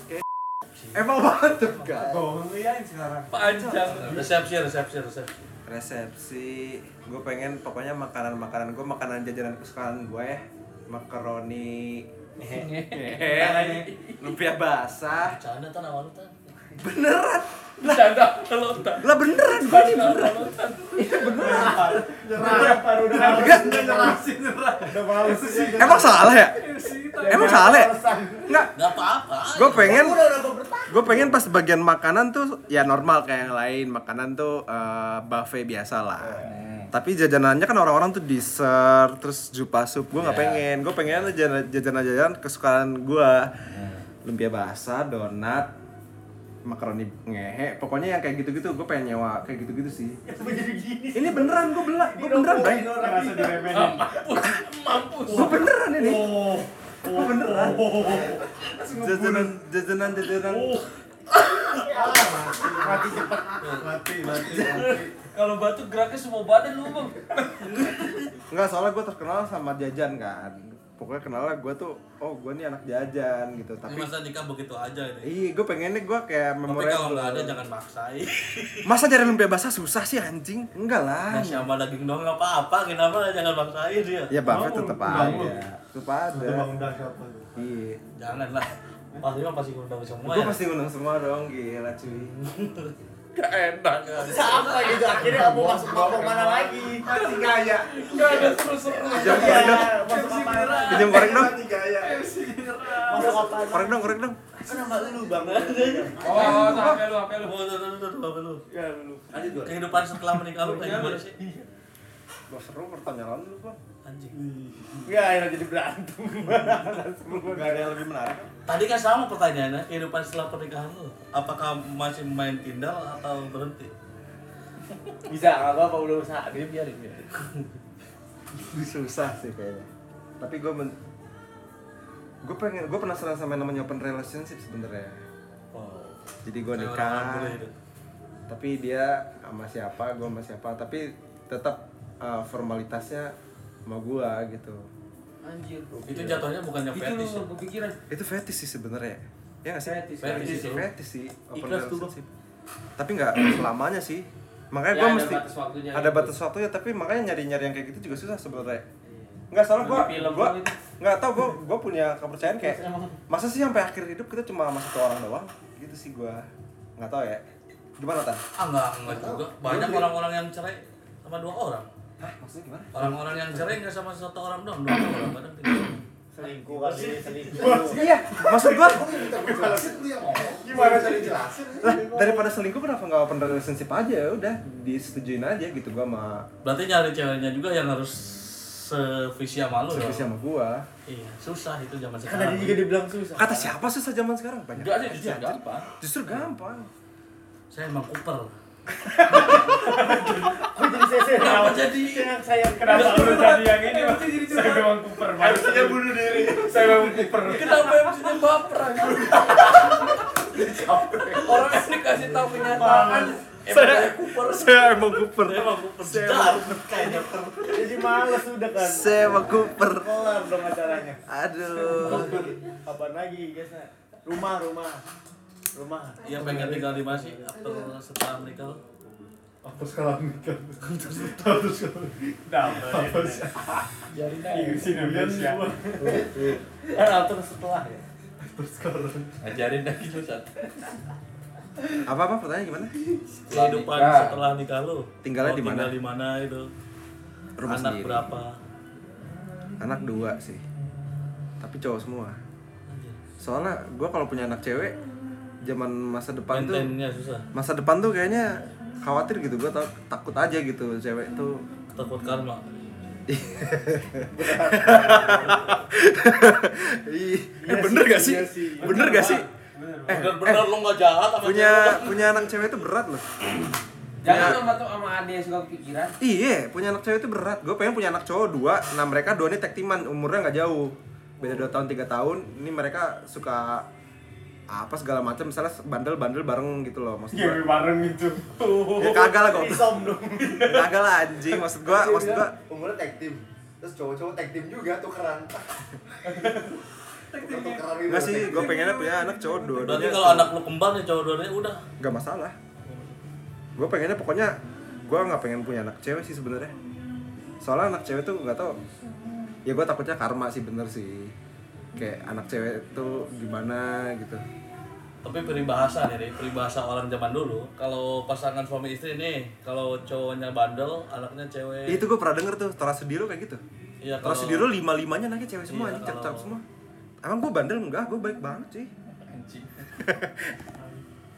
Emang mantep kan?
Bohong lu ya sekarang.
panjang
Resepsi, resepsi, resepsi.
resepsi gue pengen pokoknya makanan makanan gue makanan jajanan kesukaan gue ya makaroni Iya, lumpia basah
Canda tan awal tan.
beneran
Bercanda kalau tak.
lah beneran gue nih beneran emang salah ya emang salah ya enggak
Gak apa-apa.
gue pengen gue pengen pas bagian makanan tuh ya normal kayak yang lain makanan tuh eh, buffet biasa lah tapi jajanannya kan orang-orang tuh dessert terus jupa sup gue nggak pengen gue pengen jajanan jajanan jajanan kesukaan gue lumpia basah donat makaroni ngehe pokoknya yang kayak gitu-gitu gue pengen nyewa kayak gitu-gitu sih ini beneran gue belak gue beneran Bray.
Ngerasa diremehin.
gue beneran ini gue beneran jajanan jajanan jajanan
Mati cepet. Mati, mati.
Kalau batuk geraknya semua badan lu, Bang.
Enggak, soalnya gue terkenal sama jajan kan Pokoknya kenalnya gue tuh, oh gue nih anak jajan gitu
Tapi
Tapi,
masa nikah begitu aja ini.
iya gue pengennya gue kayak
Tapi kalau nggak ada
memorable
jangan maksain.
Masa cari lumpia basah susah sih anjing? Enggak
Ah.
lah
Nasi sama daging doang nggak apa-apa, kenapa jangan maksain dia?
Ya
Iya.
buffet tetep
bangun.
ada Tetep ada
Itu bang udah siapa tuh?
Iya
Jangan lah. Pasti mah pasti ngundang semua
Gue
ya.
pasti undang semua dong, gila cuy
Gak enak.
Sama gitu, akhirnya kamu masuk mabok mana lagi? Masih gaya.
Gak ada seru-seru.
Jam korek dong,
Masuk apa lagi?
pinjam korek dong
gaya. Masuk apa lagi?
Korek dong, korek dong
Kan nama lu bang.
Oh, oh, tuh HP lu, HP lu.
Tuh, tuh, tuh, tuh, tuh, tuh.
Ya lu. Iya,
Kehidupan setelah menikah lu kayak gimana sih?
Lo seru pertanyaan lu kok
Anjing.
Enggak, ya jadi berantem.
Gak ada yang lebih menarik
Tadi kan sama pertanyaannya, kehidupan setelah pernikahan lu Apakah masih main tindal atau berhenti?
Bisa enggak apa-apa udah usaha dia biarin ya.
susah sih kayaknya tapi gue men gue pengen gue penasaran sama yang namanya open relationship sebenarnya jadi gue
Kayak orang
nikah
boleh itu.
tapi dia sama siapa gue sama siapa tapi tetap uh, formalitasnya sama gue gitu
Anjir.
Itu jatuhnya bukannya
Itu lu
fetish ya?
kepikiran.
itu fetish sih sebenarnya ya nggak sih
Fetish.
Fetish itu.
fetish sih open
Ikhlas tuh,
relationship tapi nggak selamanya sih makanya
Ya,
gue
ada
mesti
batas waktunya
ada
gitu.
batas waktunya tapi makanya nyari nyari yang kayak gitu juga susah sebenarnya nggak salah gue
Di film
gue
doang itu.
nggak tau gue gue punya kepercayaan kayak masa sih sampai akhir hidup kita cuma sama satu orang doang gitu sih gue nggak tau ya gimana tan
Ah enggak, enggak juga Banyak orang-orang yang cerai sama dua orang
Hah, maksudnya gimana
Orang-orang yang cerai nggak sama satu orang doang, dua orang kadang tiga orang.
Selingkuh kali, selingkuh.
iya maksud gue
Gimana tadi jelasin?
lah daripada selingkuh kenapa nggak open relationship aja Ya udah disetujuin aja gitu gue sama
Berarti nyari ceweknya juga yang harus sevisi sama lu
servisi
ya?
sama gue
Iya, susah itu zaman
Kan tadi
sekarang
juga dibilang susah.
kata siapa susah zaman sekarang banyak
Enggak sih, jujur gampang.
justru gampang
Saya emang kuper
Kok jadi saya
Kenapa
saya kenapa?
jadi?
Kenapa saya kenapa lu tadi yang ini? Saya memang kuper banget. Harusnya bunuh diri. Saya memang kuper.
Kenapa maksudnya baper aja? Orang yang dikasih tahu kenyataan. Eh, saya kuper.
saya emang kuper
Saya emang kuper sedar Kayaknya
Jadi males udah kan.
saya emang kuper
Kelar dong acaranya.
aduh
Kapan lagi guysnya? Rumah, rumah. Rumah.
Iya pengen tinggal di mana sih? After setelah menikah lu?
Apa sekarang nikah? Terus kalau apa sih? Inggris Indonesia.
Kan after setelah ya.
Terus sekarang
Ajarin dah gitu satu.
apa apa pertanyaan gimana
Kehidupan
nikah.
setelah nikah lu
Tinggalnya
Mau
di mana?
Oh, Tinggal di mana itu?
rumah
Anak
sendiri
berapa?
anak dua sih tapi cowok semua soalnya gue kalau punya anak cewek zaman masa depan tuh
Maintainnya susah
masa depan tuh kayaknya khawatir gitu gue takut aja gitu cewek tuh
Takut karma
Ih, eh, bener gak sih bener gak sih Eh,
Bener-bener lu gak jahat sama
punya punya anak cewek itu berat loh
Jangan sama tuh sama ade yang suka kepikiran.
iya punya anak cewek itu berat gue pengen punya anak cowok dua nah mereka dua ini tag teaman umurnya nggak jauh beda dua tahun tiga tahun ini mereka suka apa segala macam misalnya bandel bandel bareng gitu loh
Iya,
maksud gue
bareng itu.
ya kagak lah gue
Isom dong.
kagak lah anjing maksud gua maksud gua
umurnya tag team. Terus cowok-cowok tag team juga tukeran. Tukeran gitu.
nggak sih gua pengennya punya anak cowok dua
Berarti
duanya
kalau anak lu kembar nih cowok dua udah
nggak masalah gua pengennya pokoknya gua nggak pengen punya anak cewek sih sebenarnya soalnya anak cewek tuh nggak tau ya gua takutnya karma sih bener sih kayak anak cewek tuh gimana gitu
Tapi peribahasa nih, Ri, peribahasa orang zaman dulu. Kalau pasangan suami istri nih, kalau cowoknya bandel, anaknya cewek.
Ya itu gua pernah denger tuh Tora Sudiro kayak gitu
Iya,
Tora
kalau-
Sudiro lima limanya anaknya cewek semua
Iya,
anjing cakep
kalau-
semua emang gua bandel enggak gua baik banget sih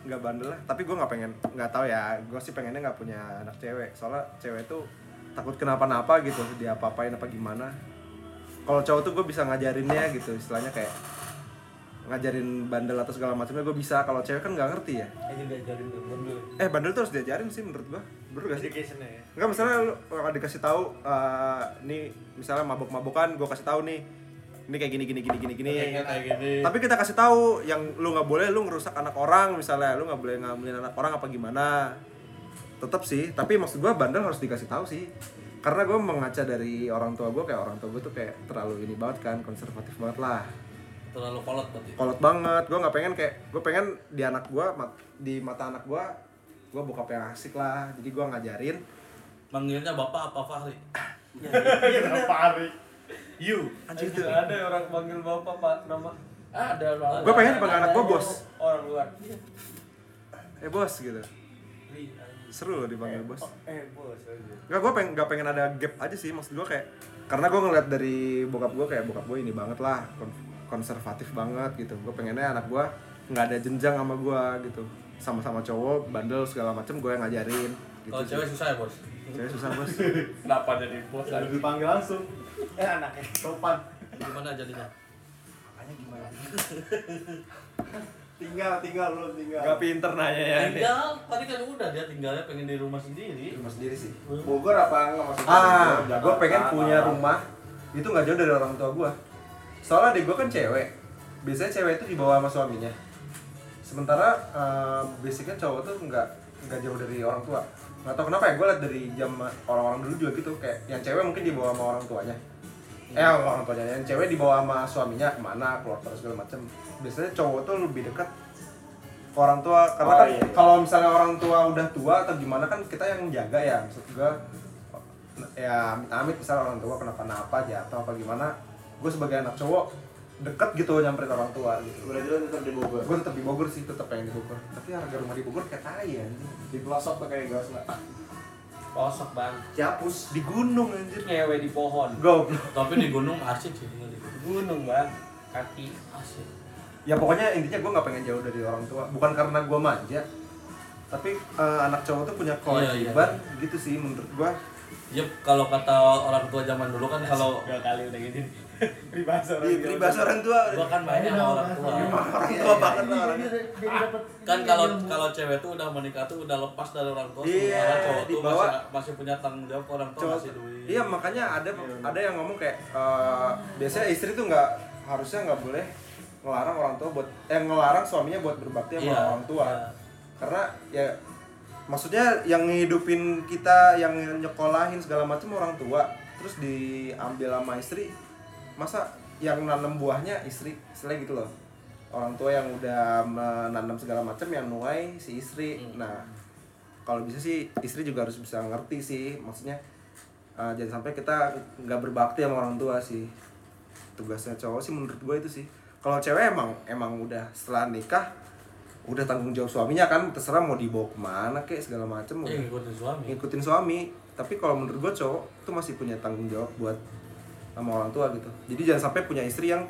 nggak bandel lah tapi gua nggak pengen nggak tahu ya gua sih pengennya nggak punya anak cewek soalnya cewek tuh takut kenapa-napa gitu dia apa-apain apa gimana kalau cowok tuh gue bisa ngajarinnya gitu istilahnya kayak ngajarin bandel atau segala macamnya gue bisa kalau cewek kan nggak ngerti ya
Aja diajarin tuh, bandel.
eh bandel tuh harus diajarin sih menurut gua bener gak sih
Education-nya ya.
Enggak misalnya lu kalau dikasih tahu eh nih misalnya mabok-mabokan gua kasih tahu nih ini kayak gini gini gini gini gini.
kayak gini.
Tapi kita kasih tahu yang lu nggak boleh lu ngerusak anak orang misalnya lu nggak boleh ngambilin anak orang apa gimana. Tetap sih, tapi maksud gua bandel harus dikasih tahu sih. Karena gua mengaca dari orang tua gua kayak orang tua gua tuh kayak terlalu ini banget kan, konservatif banget lah
Terlalu kolot berarti.
kolot banget gue nggak pengen kayak gue pengen di anak gue di mata anak gue gue bokap yang asik lah jadi gue ngajarin
Manggilnya bapak apa Fahri? Iya,
You.
anjing itu
ada orang panggil bapak pak nama ada orang
gue pengen dipanggil anak gue bos
orang luar
eh bos gitu seru loh dipanggil bos
Eh, bos. aja.
Gak, gue pengen, gak pengen ada gap aja sih maksud gue kayak karena gue ngeliat dari bokap gue kayak bokap gue ini banget lah kon- konservatif banget gitu gue pengennya anak gue nggak ada jenjang sama gue gitu sama-sama cowok bandel segala macem gue yang ngajarin gitu
Kalau
sih.
cewek susah ya, Bos?
cewek susah bos
kenapa jadi bos
Udah dipanggil langsung.
Eh, anaknya.
Sopan.
Gimana jadinya?
Tinggal, tinggal lu, tinggal.
gak pinter nanya ya
Tinggal, tadi kan udah dia tinggalnya pengen di rumah sendiri.
rumah sendiri sih Bogor apa nggak maksudnya
Ah,
Bogor,
gue pengen
Jakarta,
punya
apa.
rumah itu nggak jauh dari orang tua gue. Soalnya adik gue kan cewek. Biasanya cewek itu dibawa sama suaminya. Sementara eh, basicnya cowok tuh nggak nggak jauh dari orang tua. Nggak tau kenapa ya gue liat dari jam orang-orang dulu juga gitu kayak yang cewek mungkin dibawa sama orang tuanya. Eh orang tuanya yang cewek dibawa sama suaminya kemana keluar terus segala macem. Biasanya cowok tuh lebih dekat ke orang tua karena
Oh,
kan
iya.
kalau misalnya orang tua udah tua atau gimana kan kita yang jaga ya maksud gue ya amit-amit misalnya orang tua kenapa-napa jatuh apa gimana gue sebagai anak cowok deket gitu nyamperin orang tua gitu
Berarti lu tetap di Bogor.
gue tetap di Bogor sih tetap pengen di Bogor tapi harga rumah di Bogor kayak tai anjir
Di pelosok tuh kayak gas lah.
kosok bang
dihapus di gunung anjir
ngewe di pohon
goblok
Tapi di gunung asik sih tinggal di gunung.
gunung bang kaki
Asik.
ya pokoknya intinya gue nggak pengen jauh dari orang tua bukan karena gue manja tapi eh, anak cowok tuh
Iya,
punya kewajiban gitu sih menurut gue
Yep, kalau kata orang tua zaman dulu kan kalau
Dua kali udah gitu. Pribahasa orang
Iya,
di peribahasa Iya, orang gitu. tua
gua kan banyak orang tua.
orang tua banget lah orangnya
Kan kalau kalau cewek tuh udah menikah tuh udah lepas dari orang tua.
Iya,
sementara cowok tuh
dibawa.
masih, masih punya tanggung jawab ke orang tua
Cowok-
masih duit.
iya makanya ada ada yang ngomong kayak eh, biasanya istri tuh nggak harusnya nggak boleh ngelarang orang tua buat eh ngelarang suaminya buat berbakti sama
Iya,
orang tua
iya.
karena ya maksudnya yang ngehidupin kita yang nyekolahin segala macam orang tua terus diambil sama istri masa yang nanam buahnya istri istilah gitu loh orang tua yang udah menanam segala macam yang nuai si istri
Hmm.
nah kalau bisa sih istri juga harus bisa ngerti sih maksudnya eh, jangan sampai kita nggak berbakti sama orang tua sih tugasnya cowok sih menurut gue itu sih kalau cewek emang emang udah setelah nikah udah tanggung jawab suaminya kan terserah mau dibawa kemana kek segala macem
Iya,
udah
ngikutin suami.
ngikutin suami tapi kalau menurut gue cowok tuh masih punya tanggung jawab buat sama orang tua gitu jadi jangan sampai punya istri yang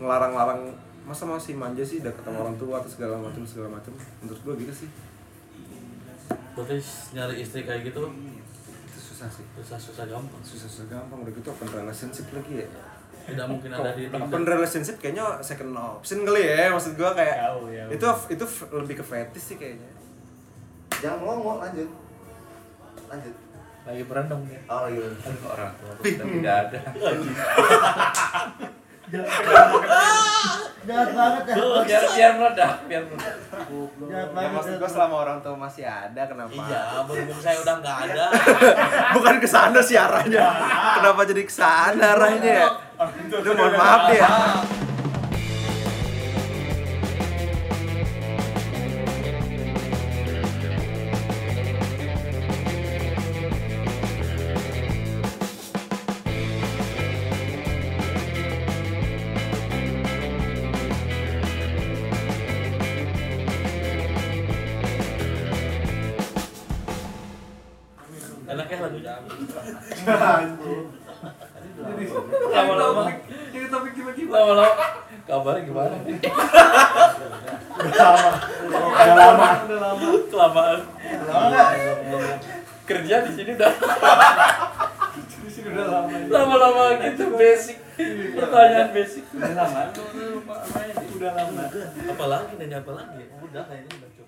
ngelarang-larang masa masih manja sih udah ketemu orang tua atau segala macam segala macam menurut gue gitu sih
Berarti nyari istri kayak gitu
itu susah sih
susah-susah gampang.
susah susah gampang udah gitu open relationship lagi ya
Tidak mungkin ada di
open relationship kayaknya second option kali ya maksud gue kayak
Jauh, jauh.
itu itu f- lebih ke fetish sih kayaknya
jangan melongo lanjut lanjut
lagi berendam ya
oh iya
orang tua tuh udah tidak ada
Jahat banget ya.
biar biar meledak biar meledak
Jahat
ya
banget.
maksud gue selama orang tua masih ada kenapa
Iya, berhubung saya udah nggak ada.
bukan ke sana sih arahnya kenapa jadi ke sana arahnya ya Aduh, mohon maaf deh ya
lama-lama kabarnya gimana?
Udah lama.
Kelamaan. Kerja di sini udah
Di sini udah lama.
lama-lama gitu basic. Pertanyaan basic.
Udah lama. Udah lama.
Apalagi nanya apalagi? Udah kayaknya udah cukup.